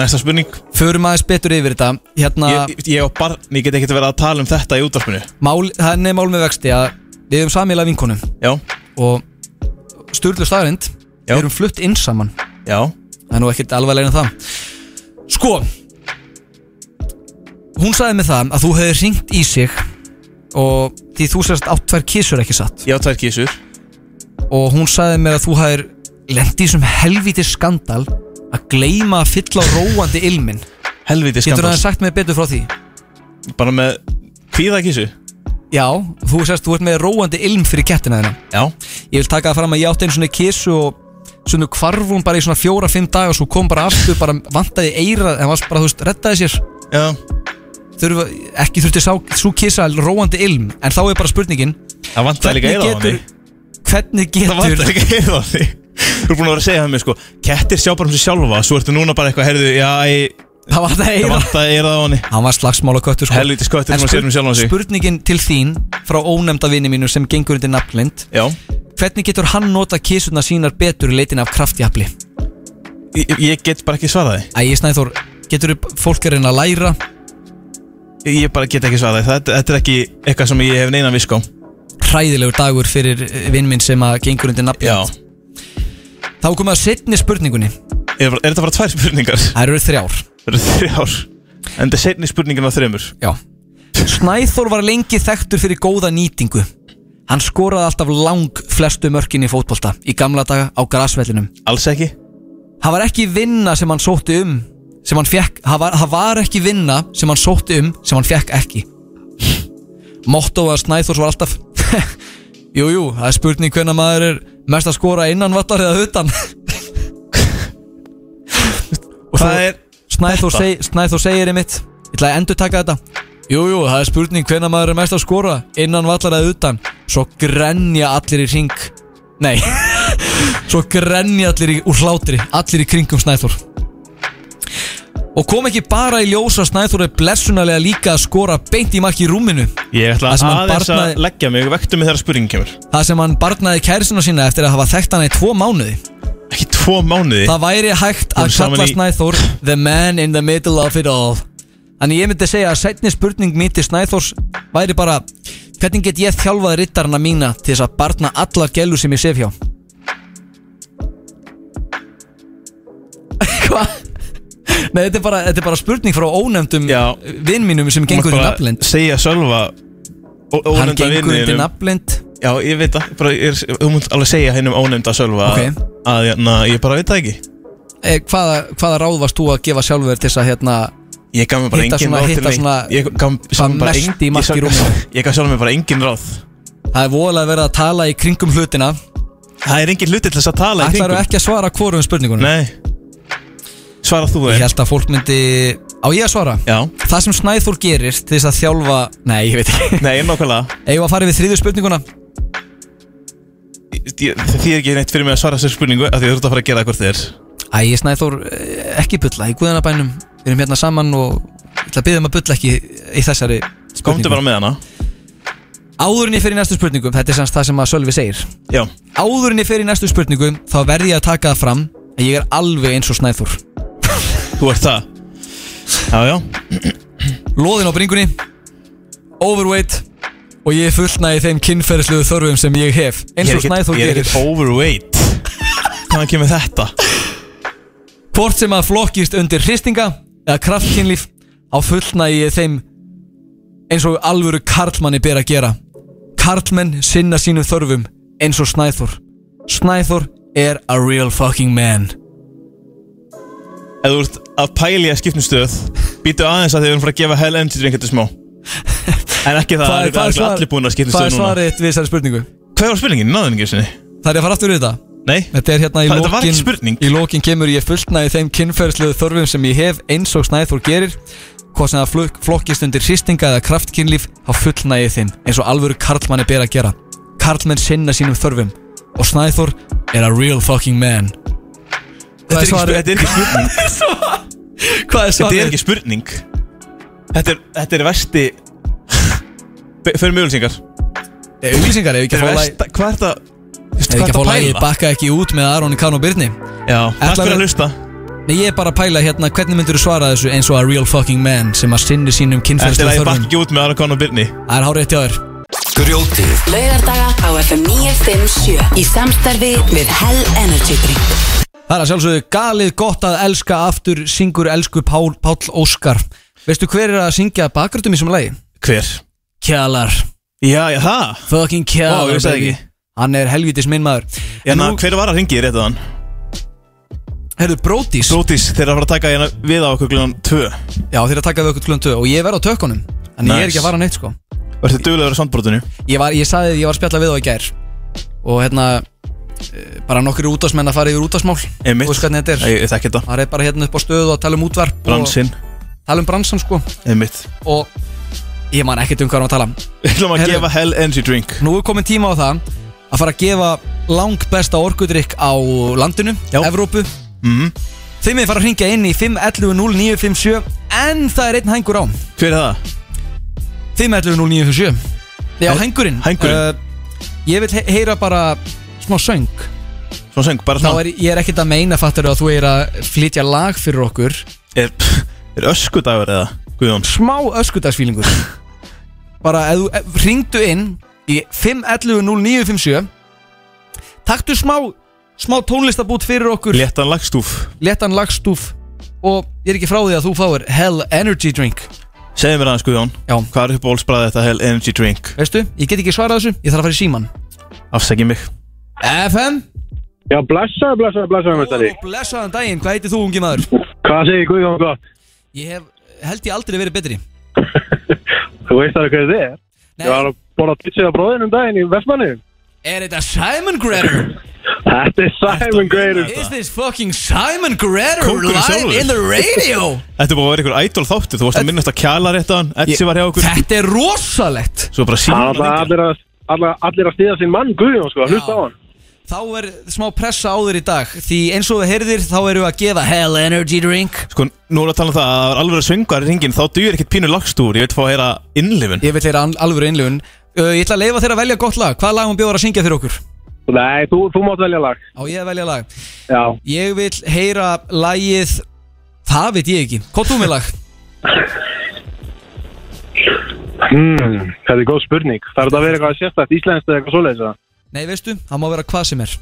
Næsta spurning
Förum aðeins betur yfir þetta hérna,
Ég, ég og barn, ég get ekkert verið að tala um þetta í útvarpinu
mál, hann er mál með vexti að við erum samíla vinkonum
Já.
og Sturlu staðarind við erum flutt inn saman
Já.
það er nú ekkert alvarlega en það sko hún sagði með það að þú hefði ringt í sig og því þú sérst átt tvær kísur ekki satt
Já, tvær kísur
og hún sagði mér að þú hafðir lendi í þessum helviti skandal að gleyma að fylla á róandi ilmin
Helviti
Getur
skandal
það sagt mér betur frá því?
Bara með kvíða kísu
Já, þú sérst, þú ert með róandi ilm fyrir kettina þina
Já
Ég vil taka það fram að ég átti einu svona kissu og svona hvarf hún bara í svona fjóra-fimm dag og svo kom bara aftur, bara vantaði eira en varst bara, þú veist, rettaði sér
Já
Þurfa, ekki þurfti sá, svo kissa róandi ilm, en þá er bara spurningin
Það vantar líka eða á henni
Hvernig getur- Hvernig
Það vantar
getur
líka eða á henni Þú er búin að vera að segja það mér sko Kettir sjá bara um sig sjálfa Svo ertu núna bara eitthvað, heyrðu, já, ég
Það vantar eyrað.
Það vantar eyrað á henni
Hann var slagsmála köttur sko.
Helvítis köttur
En
sem að sér um sjálfan sig.
Spurningin til þín frá ónefnda vini mínu sem gengur undir nafnlind
Já
Hvernig getur hann nota kísuna sínar betur í leitin af kraftjafli?
Ég, ég get bara ekki svaraði
Æ, Snæþór, getur fólk að reyna að læra
Ég bara get ekki svaraði Þetta, þetta er ekki eitthvað sem ég hef neina visk á
hræðilegur dagur fyrir vinn minn sem að gengur undir nafnlind Þá er komið að setni spurningunni
Er, er þetta bara tvær spurningar?
Það eru þrjár
Það eru þrjár En þetta er setni spurningin á þremur
Já Snæþór var lengi þekktur fyrir góða nýtingu Hann skoraði alltaf lang flestu mörkin í fótbolta Í gamla daga á grasvellinum
Alls ekki
Það var ekki vinna sem hann sótti um Sem hann fekk Það var, það var ekki vinna sem hann sótti um Sem hann fekk ekki Mottóða Snæþórs var alltaf *laughs* Jú, jú, það er spurning hvenna maður er mest að skora innan vatnar eða utan *laughs* Og svo
Hvað er
Snæþór,
þetta?
seg, Snæþór segir einmitt Ég ætla að endur taka þetta Jújú, jú, það er spurning hvenna maður er mest að skora Innan vallar eða utan Svo grenja allir í ring Nei *laughs* Svo grenja allir í, úr hlátri Allir í kringum Snæþór Og kom ekki bara í ljósa Snæþór er blessunarlega líka að skora Beint í marki í rúminu
Ég ætla
Það sem hann
aðeins að
barnaði-
leggja mig Vektu mig þegar spurningin kemur
Það sem hann barnaði kærisuna sína eftir að hafa þekkt hana í tvo mánuði
Ekki tvo tvo mánuði
Það væri hægt að
Voru saman
kalla
í-
Snæþór The man in the middle of it all Þannig ég myndi segja að setni spurning mín til Snæþórs væri bara Hvernig get ég þjálfað rittarana mína til þess að barna alla gælu sem ég sef hjá? *laughs* Hva? Nei, þetta er, bara, þetta er bara spurning frá ónefndum vinn mínum sem gengur í
bara
nafnlend
Segja Sölva ó-
Hann
ónefnda
gengur
vininum-
undir nafnlend
Já, ég veit það bara, ég er- Þú mútt alveg segja hennum ónefnda Sölva
Ok.
að na, ég bara veit það ekki
Eh, hvaða, hvaða ráð varst þú að gefa sjálfur þér til þess að hérna
Ég gaf mér bara
hitta
engin
svona,
ráð til
hitta
neitt.
svona
Ég gaf sjálfum
hvað
bara
mest
engin-
í mark
ég
í
sjálf-
rúminu
*laughs* Ég gaf sjálfum mér bara engin ráð
Það er voðalega verið að tala í kringum hlutina
Það er engin hluti til þess að tala í
Ætlarðu
kringum.
ekki að svara hvorum spurningunum?
Nei Svara þú eh?
þeim Ég held að fólk myndi Á ég að svara?
Já
Það sem Snæþór gerir til þess að þjálfa Nei, ég veit ekki
Nei, nákvæmlega
Eigum við að fara við þriðju spurninguna?
Ég- Það þýðir ekki neitt fyrir mig að svara þessar spurningu af Því þú ert að fara að gera það hvort þið er
Æ, ég Snæþór eh, ekki bulla í guðanabænum Við erum hérna saman og Ég ætla að byggja um að bulla ekki í þessari spurningu
Komdu bara með hana
Áðurinn ég fer í næstu spurningum Þetta er semst það sem að Sölvi segir
Já
Áðurinn ég fer í næstu spurningum Þá verði ég að taka það fram Að ég er alveg eins og Snæþór
Þú ert það Já, já
Lóðin á bringunni Overweight Og ég fullnægi þeim kynferðisluðu þörfum sem ég hef Eins
Ég er
og
ekkert-
Snæþór
Ég er
gerir
ekkert overweight Hvaðan kemur þetta?
Hvort sem að flokkist undir hristinga eða kraftkynlíf á fullnægi ég þeim eins og alvöru karlmanni ber að gera Karlmenn sinna sínum þörfum eins og Snæþór Snæþór er a real fucking man
Ef þú ert að pæla í að skipnum stöð Býtu aðeins að þið erum fara að gefa hell energy drink þetta smá En
*laughs*
ekki það, það er, það er
svar-
allir búin að skipnum
hvað er
stöð núna
svarið þitt við þessari spurningu?
Hvað var spurningin? Náðin ekki sinni
Það er að fara aftur við þetta
Nei
Þetta er hérna í
Það- þetta var ekki
lokin Í lokin kemur ég fullnægi þeim kynferðsluðu þörfum sem ég hef eins og Snæþór gerir Hvað sem það flok- flokkist undir hristinga eða kraftkynlíf Há fullnægi ég þeim eins og alvöru karlmanni ber að gera Karlmenn sinna sínum þörfum Og Snæþór er a real fucking man
Þetta er ekki sp- þetta er ekki spurning
Hvað er
Þetta
svarið?
er ekki spurning Þetta er, þetta er versti Fyrir mjög ulsingar
Þetta Auglýsingar ef ekki að fá lagi
versta Hvað er þetta? hvað
Ef ekki að
ertu
fá
að
lagi
pæla?
bakka ekki út með Aron Kahn og Birni
Já, takk fyrir að hlusta
Nei, ég er bara að pæla hérna, hvernig myndur þú svara þessu eins og a real fucking man sem að sinni
Þetta
sínum
er
kynferðslega
að ég
þörfum?
bakk ekki út með Aron Conn og Birni
Það er hárið hjá þér
Grjótið
Laugardaga á FM 957 Í samstarfi við Hell Energy Drink
Það er að sjálfsögðu galið gott að elska aftur syngur elsku Pál, Páll Óskar Veistu hver er að syngja bakgröndum í sem lagi?
Hver?
Kjalar
Já, já, það
Fucking
Vá,
Kjalar
ég vissi það
baby.
ekki.
Hann er helvitis minn maður En
Hérna,
nú-
hver var að ringi þér rétt að hann?
Herðu, Brótis
Brótis, þeir eru að fara að taka hérna við á okkur glunum 2
Já þeir eru að taka við okkur klundu og ég verð á tökkunum En ég er
Nice.
ekki að fara neitt sko
Verður þið duglegur á sandbrotinu?
Ég, var, ég sagði því ég var að spjalla við þá í gær Og hérna eh, bara nokkur útásmenn að fara yfir útásmál
Einmitt.
Þú veist hvernig þetta
Ég,
er
ég þekki þetta
Það er bara hérna upp á stöðu og tala um útvarp og-
Bransinn,
Tala um bransan sko
einmitt
Og ég man ekkert um hvað hann var að tala
Við ætlum að
Herru.
gefa Hell Energy Drink
Nú er komin tíma á það að fara að gefa lang besta orkudrykk á landinu, Evrópu
mm.
Þeim er fara að hringja inn í 511-0957 en það er einn hengur á
Hver er það?
511-0957 Já,
Er-
hengurinn
Hængurinn.
uh, Ég vil he heyra bara smá söng
Svona söng, bara
Þá
svona
er ég er ekkert að meina fattur að þú er að flytja lag fyrir okkur
Er, *laughs* er öskudagur eða? Guðjón
Smá öskudagsfílingur Bara ef þú ef- hringdu inn í 511-0957 Taktu smá smá tónlistabút fyrir okkur
Léttan lagstúf
léttan lagstúf og ég er ekki frá því að þú fáir Hell Energy Drink
Segðu mér aðeins Guðjón
Já.
Hvað er uppáhaldsbræðið þetta Hell Energy Drink?
veistu, ég get ekki svarað þessu, ég þarf að fara í síman
Afsækja mig
FM,
Já, blessaður, blessaður, blessaður, mestari.
og blessaðan daginn, hvað heitir þú ungi maður?
Hvað segir Guðjón gott?
Ég hef, held ég aldrei verið betri
*laughs* Þú veist alveg hvað þið er? Ég var að borða pizza á bróðinum um daginn í Vestmanniðum.
Er þetta Simon Gretter?
Þetta er Simon Greirur.
Is this fucking Simon Gretter
Kóngurinn
live
sjálfur.
in the
*laughs*
radio?
Þetta er búin að vera ykkur idol þáttu Þú varst að minnast að kjala rétt að hann Etsi var hjá okkur
Þetta er rosalegt
Svo
Það
bara
var
síma
bara allir að, allir, allir að stíða sinn mann Guðjón, sko, hlusta á hann.
Þá er smá pressa á þér í dag Því eins og við heyrðir þá erum við að gefa Hell Energy Drink
Sko, nú er að tala um það að það var alveg að söngu að ringin Þá dugir ekkert pínu lagstúr Ég vil fá að heyra innlifun
Ég vil heyra an- alvöru innlögun uh, Ég ætla að leifa þér að velja gott lag Hvað lag hún bjóður að syngja fyrir okkur?
Nei, þú, þú mátt velja lag
Á ég að velja lag
Já
Ég vil heyra lagið Það veit ég ekki Hvað þú með lag?
mm, Þetta er góð spurning Þarf þetta að vera eitthvað sérstætt íslenskt eða eitthvað svoleiðis eða?
Nei, veistu, það má vera hvað sem er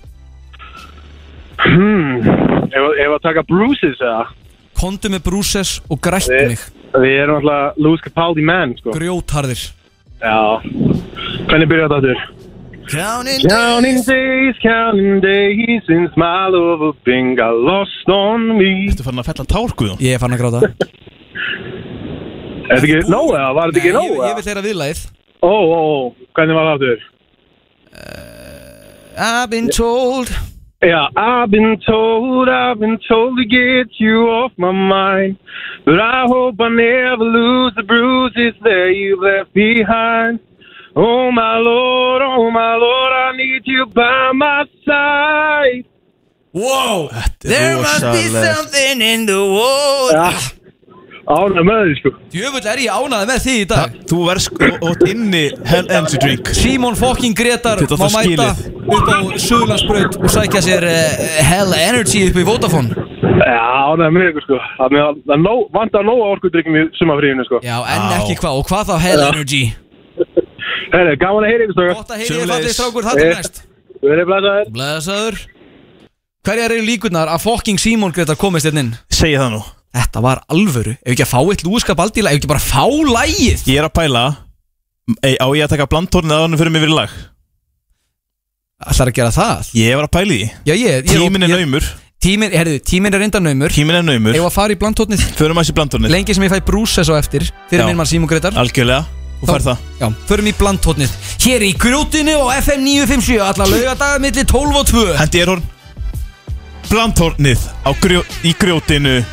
hmm. Ef ef að taka Bruce's eða
Kondu með brúses og grættu
Við-
mig
Við erum alltaf Louis Capaldi menn sko.
Grjótharðir
Já Hvernig byrjar þetta aftur?
Counting
Counting days, counting days Since my love of being got lost on me Þetta
er farin að fella tárkuðum
Ég er farin að gráta
Er þetta ekki nóg eða? Var þetta ekki
Nei,
nóg
ég,
eða?
ég vil heyra viðlagið
Ó, ó, ó, hvernig var það aftur?
I've been told
Já, I've been told, I've been told to get you off my mind But I hope I never lose the bruises that you've left behind Oh my lord, oh my lord, I need you by my side
Wow,
there must be rosalegt.
something in the world
ja. Ánægð með því er sko
Jöfull er ég ánaði með því í dag
Þú verðst og inni Hell Energy Drink
Simon fucking Gretar
Þetta
má
það
mæta upp á Suðlandsbraut og sækja sér uh, Hell Energy upp í Vodafone
Já, ánægð með ykkur er sko Það með að- það nó- vantar nóg orkudrykkum í sumafríðinu sko
Já, en ekki hvað, og hvað þá Hell Energy
Herri, gaman að heyra ykkur strákar Gott
að heyra í þér, fallegi strákur, þar til næst.
Verið blæsaður
Blæsaður Hverjar eru líkurnar að fucking Simon Gretar komist hérna inn?
Segji það nú
Þetta var alvöru Ef ekki að fá eitt lúðskap aldíla, ef ekki bara fá lægið
Ég er að pæla Ei, á ég að taka blandtórnið að hann fyrir mig fyrir lag
Það er að gera það
Ég var að pæla í því
Já, ég, ég
Tíminn er naumur
Tíminn, herðu, tíminn er reynda naumur
Tíminn er naumur
Ef að fara í blandtótnið
Förum að þessi blandtórnið
Lengi sem ég fæ brúses á eftir Fyrir
Já.
minn mann Simon Gretar
Algjörlega Þú fær það
Já, förum í blandtótnið Hér í grjótinu og FM 957 Alla laugardaga milli 12 og 2
Hendi er horn Blandtórnið á grjó, í grjótinu *laughs*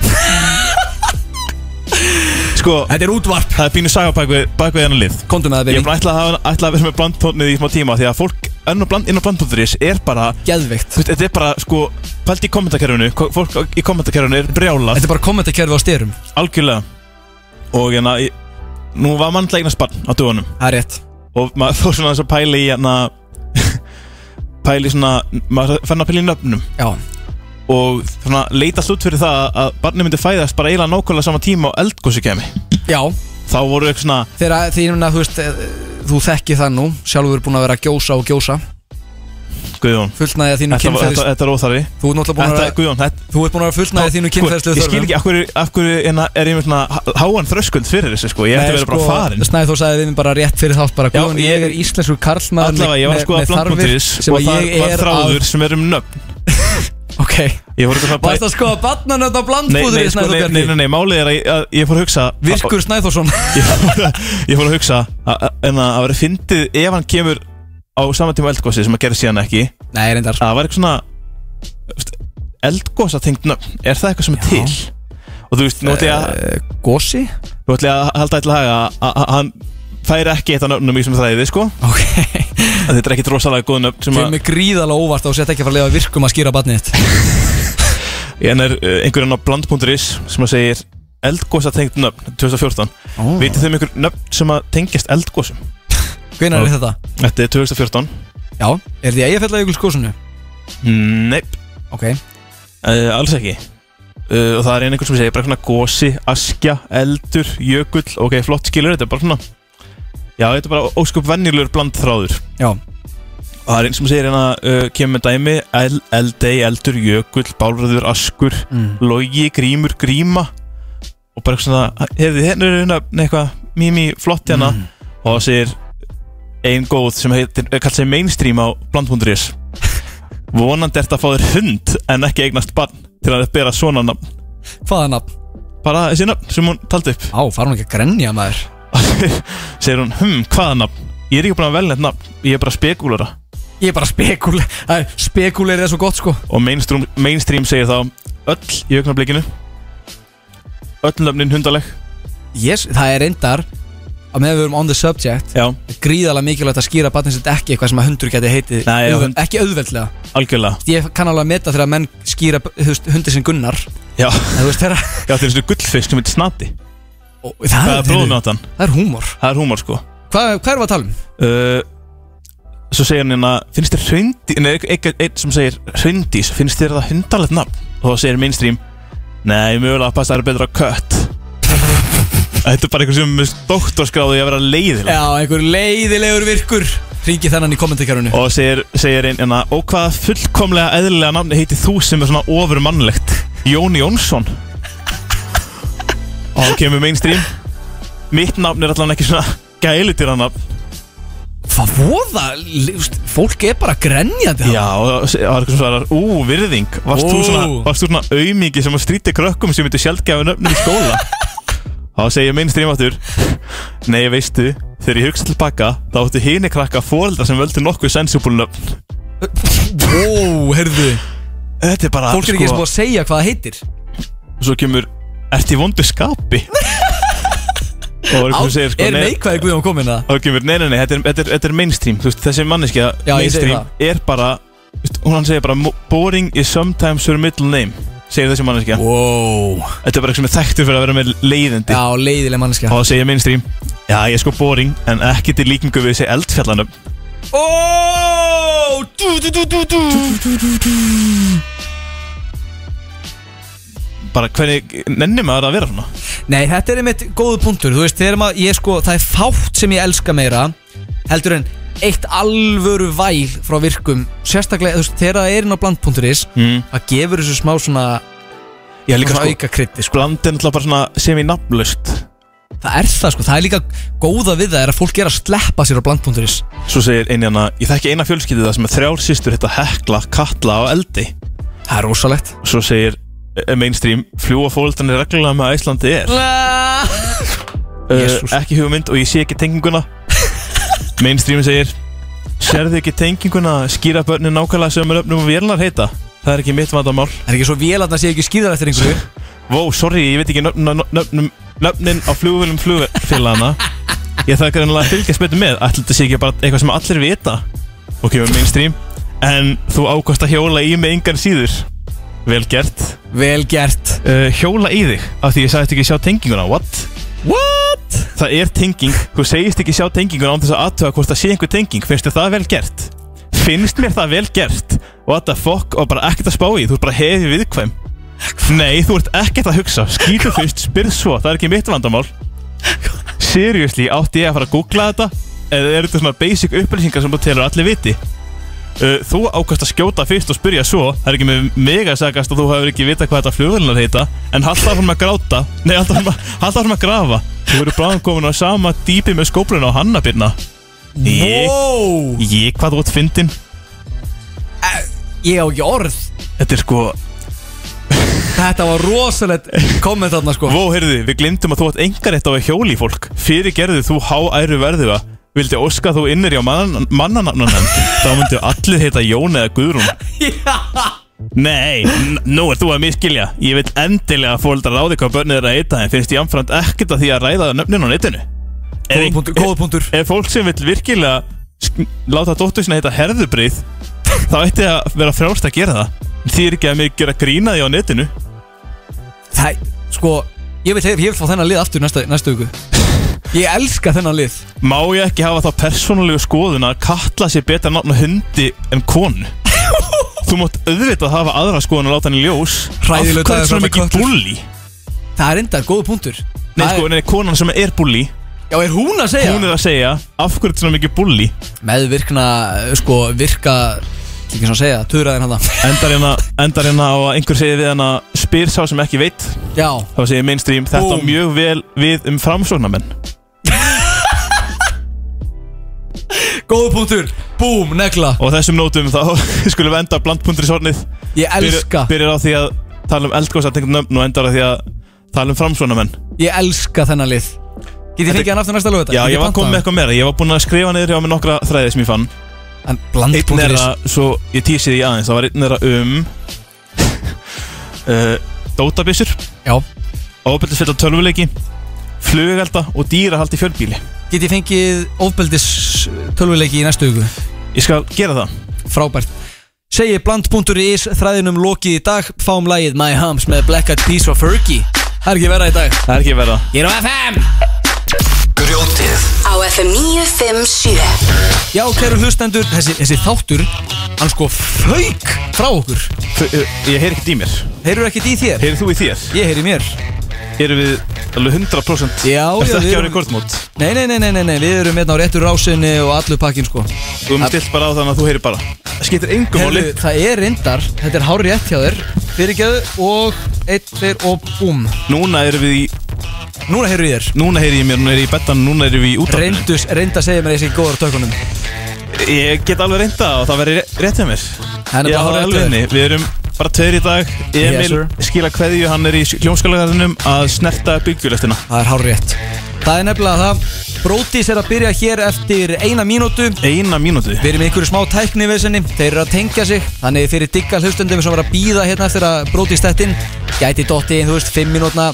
Sko
Þetta er útvarp
Það er bínu saga bak við, bak við hennar lið
Kondum með það, baby.
Ég er bara ætla að, hafa- ætla að vera með blandtórnið í smá tíma Því að fólk önn og bland, inn á blandtórnir er bara
Geðveikt
Þú veist, þetta er bara sko Pælt í kommentakerfinu ko- Fólk í kommentakerfinu er brjálað
Þetta er bara kommentarkerfi á styrum
Algjörlega Og hérna í- Nú var mannlegna spann á dögunum
Það er rétt
Og maður *laughs* fór svona þess að pæla í hérna *laughs* Pæla í svona Maður fann að pæla í nöfnum
Já
Og svona leitast út fyrir það að barni myndi fæðast bara eiginlega nákvæmlega sama tíma á eldgósi kemi
Já
Þá voru eitthvað svona
Þegar því núna, þú veist eh, Þú þekki það nú Sjálfur búin að vera að gjósa og gjósa
Guðjón
Fullnægja þínu
Þetta, var-
kynferðis-
þetta, þetta er óþarri
Þú ert náttúrulega búin að
Þetta-
vera-
Guðjón, þetta sko,
Þú ert búin að vera fullnægja þínu kynferðslegu
Ég skil ekki, af hverju, af hverju hérna, er ég með svona há- háan þröskuld fyrir þessu sko Ég ætti að vera bara farin
Snæð þú sagði við mér bara rétt fyrir þátt bara
Já,
Guðun, ég,
ég-
er íslenskur karlmaður
Allavega, ég var að skoða blandbúntiris
sem
og
að
það
ég
var
er
þráður
að
sem er um nöfn
Ok
Ég voru eitthvað
Varst að skoða barnanönd á
Nei, nei,
blandbúðurinn
sko, nei,
Snæð og
nei, nei,
Bjarni
nei, málið er að ég, að ég fór að hugsa
Virkur Snæðórsson
Ég fór að hugsa að, að, en að að vera fyndið ef hann kemur á sama tíma eldgósi sem að gera síðan ekki
Nei, reyndar
Það var eitthvað svona eldgósa tengt nöfn, er það eitthvað sem er til? Og þú veist, nú ætla ég
að Gósi?
Nú ætla ég að halda eitthvað haga að- að að hann færi ekki eitt af nöfnum í sem þræði, sko
Ok
Þetta er ekkit rosalega góð nöfn sem
Kemur
að
mig gríðalega óvart og sett ekki að fara að lifa virkum að skýra barnið þitt
En er uh, einhverjum á bland.is sem að segir eldgósa tengt nöfn 2014
Ó.
Vitið þeim einhver nöfn sem að tengjast eldgósum?
Hvenær er þetta?
Þetta er 2014
Já, er þetta í eigafella jökulskósunu?
Nei
Ok
uh, Alls ekki uh, Og það er einhver sem segir bara svona gósi, askja, eldur, jökull Ok, flott skilur þetta, er bara svona Já, þetta er bara ósköp venjulegur blandþráður
Já
Og það er einn sem segir hérna, uh, kemur með dæmi el, Eldei, eldur, jökull, bálröður, askur
Mm.
Logi, grímur, gríma Og bara eitthvað svona Hefði hérna er hérna nei, eitthvað Mimi, flott hérna Og það segir ein góð sem heitir eh, Kallt segir mainstream á bland.is Vonandi ert að fá þér hund En ekki eignast barn Til að bera svona nafn
Hvaða nafn?
Bara þessi nafn sem hún taldi upp *laughs*
Á, fara hún ekki að grenja maður
Segir hún, hm, hvaða nafn Ég er ekki búin að velja þetta nafn Ég er bara spekulera
Ég er bara spekul Spekulir er svo gott sko
og mainstream, mainstream segir þá öll í augnablikinu öll nöfnin hundaleg
yes, það er reyndar að með við erum on the subject
Já.
gríðalega mikilvægt að skýra barnið sitt ekki eitthvað sem að hundur geti heitið
Nei, já,
Auðveld-
hund-
ekki auðveldlega
algjörlega
ég kann alveg að meta þegar að menn skýra þú veist, hundir sem Gunnar
já,
en, þú veist, þeirra,
já það er eins og gullfisk sem heitir snati
og,
það er bróðnáttan
það er húmor
það er húmar sko
hvað, hvað erum við að tala um?
uh, Svo segir hann hérna, finnst þér hreindís Nei, einn ein sem segir hreindís Finnst þér það hundalegt nafn? Og þá segir mainstream Nei, mögulega að passa það er betra að kött *laughs* Þetta er bara einhver sem er með doktorskráði að vera leiðileg
Já, einhver leiðilegur virkur Ringi þannan í kommentarkerfinu
Og segir, segir einn hérna Og hvaða fullkomlega eðlilega nafni heiti þú sem er svona ofurmannlegt Jón Jónsson Og þá kemur mainstream Mitt nafn er allan ekki svona gælutýranafn
Hvað voða? Li- þú veist, Fólk er bara grenjandi
Já, og það það var eitthvað sem svarar Ú, virðing, varst þú
Ú.
svona, varst þú svona aumingi sem að strýti krökkum sem myndu sjaldgæfa nöfnum í *laughs* skóla Þá segir minn strýmáttur Nei, veistu, þegar ég hugsa tilbaka þá áttu hini krakka fóreldra sem völdu nokkuð sensibúl nöfn
Ó, heyrðu
Þetta er bara,
Fólk er ekki eins og
sko,
búið að segja hvað það heitir
svo kemur Ert í vondu skapi? *laughs* Og það er eitthvað sem segir, sko,
Er
nei-
neikvæði Guðjón komin að
Og það kemur, nei, nei, nei, þetta er, þetta er, þetta er mainstream þú veist, Þessi manneskja,
Já, ég segi
mainstream, er bara þú veist, Hún hann segir bara "Mo- Boring is sometimes her middle name Segir þessi manneskja
wow.
Þetta er bara eitthvað sem er þekktur fyrir að vera með leiðindi
Já, leiðileg manneskja
Og það segir mainstream Já, ég er sko boring, en ekki til líkingu við þessi eldfjallanum
Ó, dú, dú, dú, dú, dú Dú, dú, dú
Bara hvernig, nenni maður að vera svona
Nei, þetta er einmitt góðu punktur Þú veist, þegar maður, ég sko, það er fátt sem ég elska meira Heldur en eitt alvöru væl frá virkum Sérstaklega, þú veist, þegar það er inn á bland.is
Mm.
Það gefur þessu smá svona
Já, líka
svona
sko-
auka krytti sko.
Bland er náttúrulega bara svona sem í nafnlaust
Það er það, sko, það er líka góða við það er að fólk er að sleppa sér á bland.is
Svo segir eini hana Ég þekki eina fjölskyldu það sem er þrjár sýstur Hitta Hekla, Katla og Eldi
Það er rosalegt
Svo segir eh, mainstream Fljúa fólöldarnir reglulega með að Íslandi er
*gasps*
uh,
Jesús.
Ekki hugmynd og ég sé ekki tenginguna Mainstream segir Serðu ekki tenginguna Skýra börnin nákvæmlega sem er öfnum og vélnar heita Það er ekki mitt vandamál
Það er ekki svo vél að það sé ekki skýðar eftir einhverju
Vó, sorry, ég veit ekki nöfnum, nöfnum, nöfnin á flugvölum flugfélagana Ég þarf greinlega að fylgjast betur með Ætli þetta sé ekki bara eitthvað sem allir vita Og kemur mainstream En þú ákvæmst að hjóla í með engan síður Vel gert
Vel gert
uh, Hjóla í þig Af því ég sagðist ekki sjá tenginguna What?
What?
Það er tenging Þú segist ekki sjá tenginguna án þess að aðtöga hvort það sé einhver tenging Finnst þér það vel gert? Finnst mér það vel gert? What the fuck? Og bara ekkert að spá í Þú ert bara hefði viðkvæm Nei, þú ert ekkert að hugsa Skýtu fyrst, spyrð svo Það er ekki mitt vandamál Seriously, átti ég að fara að googla þetta? Eða eru þetta svona basic upplýsingar sem þú telur að allir viti? Uh, þú ákvæmst að skjóta fyrst og spyrja svo Það er ekki með mega sagast að þú hefur ekki vita hvað þetta flugvölinar heita En halda hún að gráta Nei, halda hún að, halda hún að grafa Þú eru bráðum komin á sama dýpi með skópluna á hannabirna Ég,
wow.
ég hvað þú ert fyndin
Ég á ekki orð
Þetta er sko
Þetta var rosalegt komment þarna sko
Vó, heyrðu, við glemdum að þú átt engar eitt á að hjóli í fólk Fyrir gerðu þú háæru verðuga Vildi óska þú innir hjá mannan, mannanafnan Þá myndu allir heita Jón eða Guðrún Nei, n- nú ert þú að miskilja Ég vil endilega að fóldra ráði hvað börnið er að eita En finnst ég amframt ekkert að því að ræða nöfnin á netinu
Góður punktur, góður punktur
Ef fólk sem vil virkilega sk- láta dóttur sinna heita herðubrið Þá ætti að vera frjálst að gera það Því er ekki að mig gera grína því á netinu
Það, sko, ég vil, ég vil fá þennan lið aftur næsta, næsta viku Ég elska þennan lið
Má ég ekki hafa þá persónulegu skoðun að kalla sér betra nafn á hundi en konu? Þú mátt auðvitað hafa aðra skoðun að láta hann í ljós
Hræðilegur
Af hvað
dagur
er svona
fram að
mikið
köttur.
bulli?
Það er enda góður punktur
Nei, sko, nei, konan sem er bulli
Já, er hún að segja?
Hún er að segja, af hverju er þetta svona mikið bulli?
Með virkna, sko, virka Líka svona að segja, töraðin hann það
Endar hérna, endar hérna á að einhver segir við hann að spyr sá sem ekki veit
Já,
Þá segir mainstream, þetta á
Búm.
mjög vel við um framsóknarmenn
góður punktur Búm, negla
Og á þessum nótum þá *laughs* skulum við enda blandpuntur í sornið
Ég elska,
Byrjar á því að tala um eldgósa nöfn og endar á því að tala um framsóknarmenn
ég elska þennan lið Getið fengið hann aftur næsta lögut
Já, ég var komið með eitthvað meira Ég var búinn að skrifa niður hjá mig nokkra þræði sem ég fann
En
Einn er
bland.is
að, svo ég tísi því aðeins Það var einn er að um *laughs* uh, Dótabissur
Já
Óbjöldisfella tölvuleiki Flugelda og dýrahald í fjölbíli
Getið fengið ofbeldis tölvuleiki í næsta viku
Ég skal gera það
frábært Segir bland.is þræðinum lokið í dag Fáum lagið My Hums með Black Eyed Peas og Fergie Það er ekki verra í dag
Það er ekki verða
Ég er á FM
Grjótið
á FM
FM 957
Já, kæru hlustendur, þessi, þessi þáttur Hann sko fauk frá okkur
eh, Ég heyr ekkert í mér
Heyrur ekkert í þér?
Heyrur þú í þér?
Ég heyri í mér
Erum við alveg 100%
Já, já,
Ertu
við
ekki á
erum-
rekordmót?
Nei, nei, nei, nei, nei, nei, við erum hérna á réttur rásinni og allur pakkin sko
Þú erum stillt bara á þannig að þú heyrir bara Það skiptir engum máli
Heyrðu, það er reyndar, þetta er hár rétt hjá þér Fyrirgeðu og eitt, tveir og búm
Núna erum við í
Núna heyrðu ég þér
Núna heyri ég mér, núna er ég í bettan, núna erum við í útarpinu
Reyndus, reynda að segja mér að ég sé góður á tökunum
Ég get alveg reynda og það verður rétt hjá mér
Það er
Ég
bara
á
hárrétt hjá
alveg
þér.
inni Við erum bara tveir í dag
Yes,
Emil
sir.
skila kveðju, hann er í hljómskalagarðinum að snerta byggjulöftina
Það er hár rétt Það er nefnilega það Brótis er að byrja hér eftir eina mínútu
Eina mínútu
Við erum í einhverju smá tækni við senni Þeir eru að tengja sig Þannig fyrir digga hlustendum sem var að býða hérna eftir að Brótis stettin Gæti dotti einn, þú veist, fimm mínútna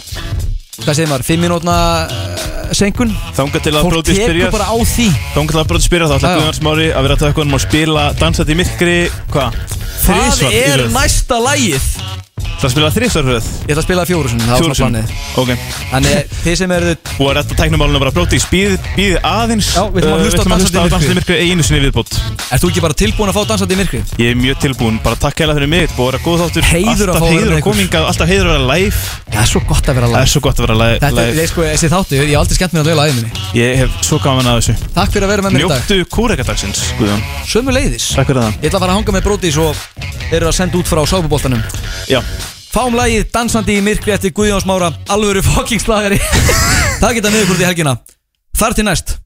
Hvað segir maður, fimm mínútna uh, senkun
Þangað til að
Fólk
brótið
tekur
spyrja
bara á því
Þangað til að brótið spyrja þá ætla
Já.
Guðjón Smári að vera að taka honum og spila Dansað í myrkri, hvað?
Það
Þrisvar í
er
röð.
næsta lagið
Það spila þrísvar röð
Ég ætla að spila fjóru sinni, það var
Fjórum
svona
sinnum.
planið
Ok
Þannig þið sem eru
Og að retta tæknumálunum bara brótið Býðið býði aðeins
Já, við ætlum að
Uh,
hlusta á Dansandi í
Dansandi í
myrkri.
myrkri einu sinni í viðbót
Ert þú ekki bara tilbúin að fá dansandi í myrkri?
Ég er mjög tilbúinn, bara takk hella fyrir mig, þetta er búið að vera góð þáttur
Heiður að fá
Alltaf heiður
að vera með
að
ykkur.
kominga, alltaf heiður að vera live
Það er svo gott að vera
Það er svo gott að vera live
Þetta er, sko, þessi þáttu, ég hef aldrei skemmt mér að dveila aðeins minni
Ég hef svo gaman að þessu
Takk fyrir að vera með mér í dag
Njóttu kúrekadagsins, Guðjón
Sömu leiðis
Takk fyrir það
Ég ætla að fara að hanga með bróti svo eru að senda út frá sápuboltanum
Já
Fáum lagið Dansandi í myrkri *laughs* eftir Guðjóns Mára Alvöru fokkingslagari Takk geta miður hvort í helgina Þar til næst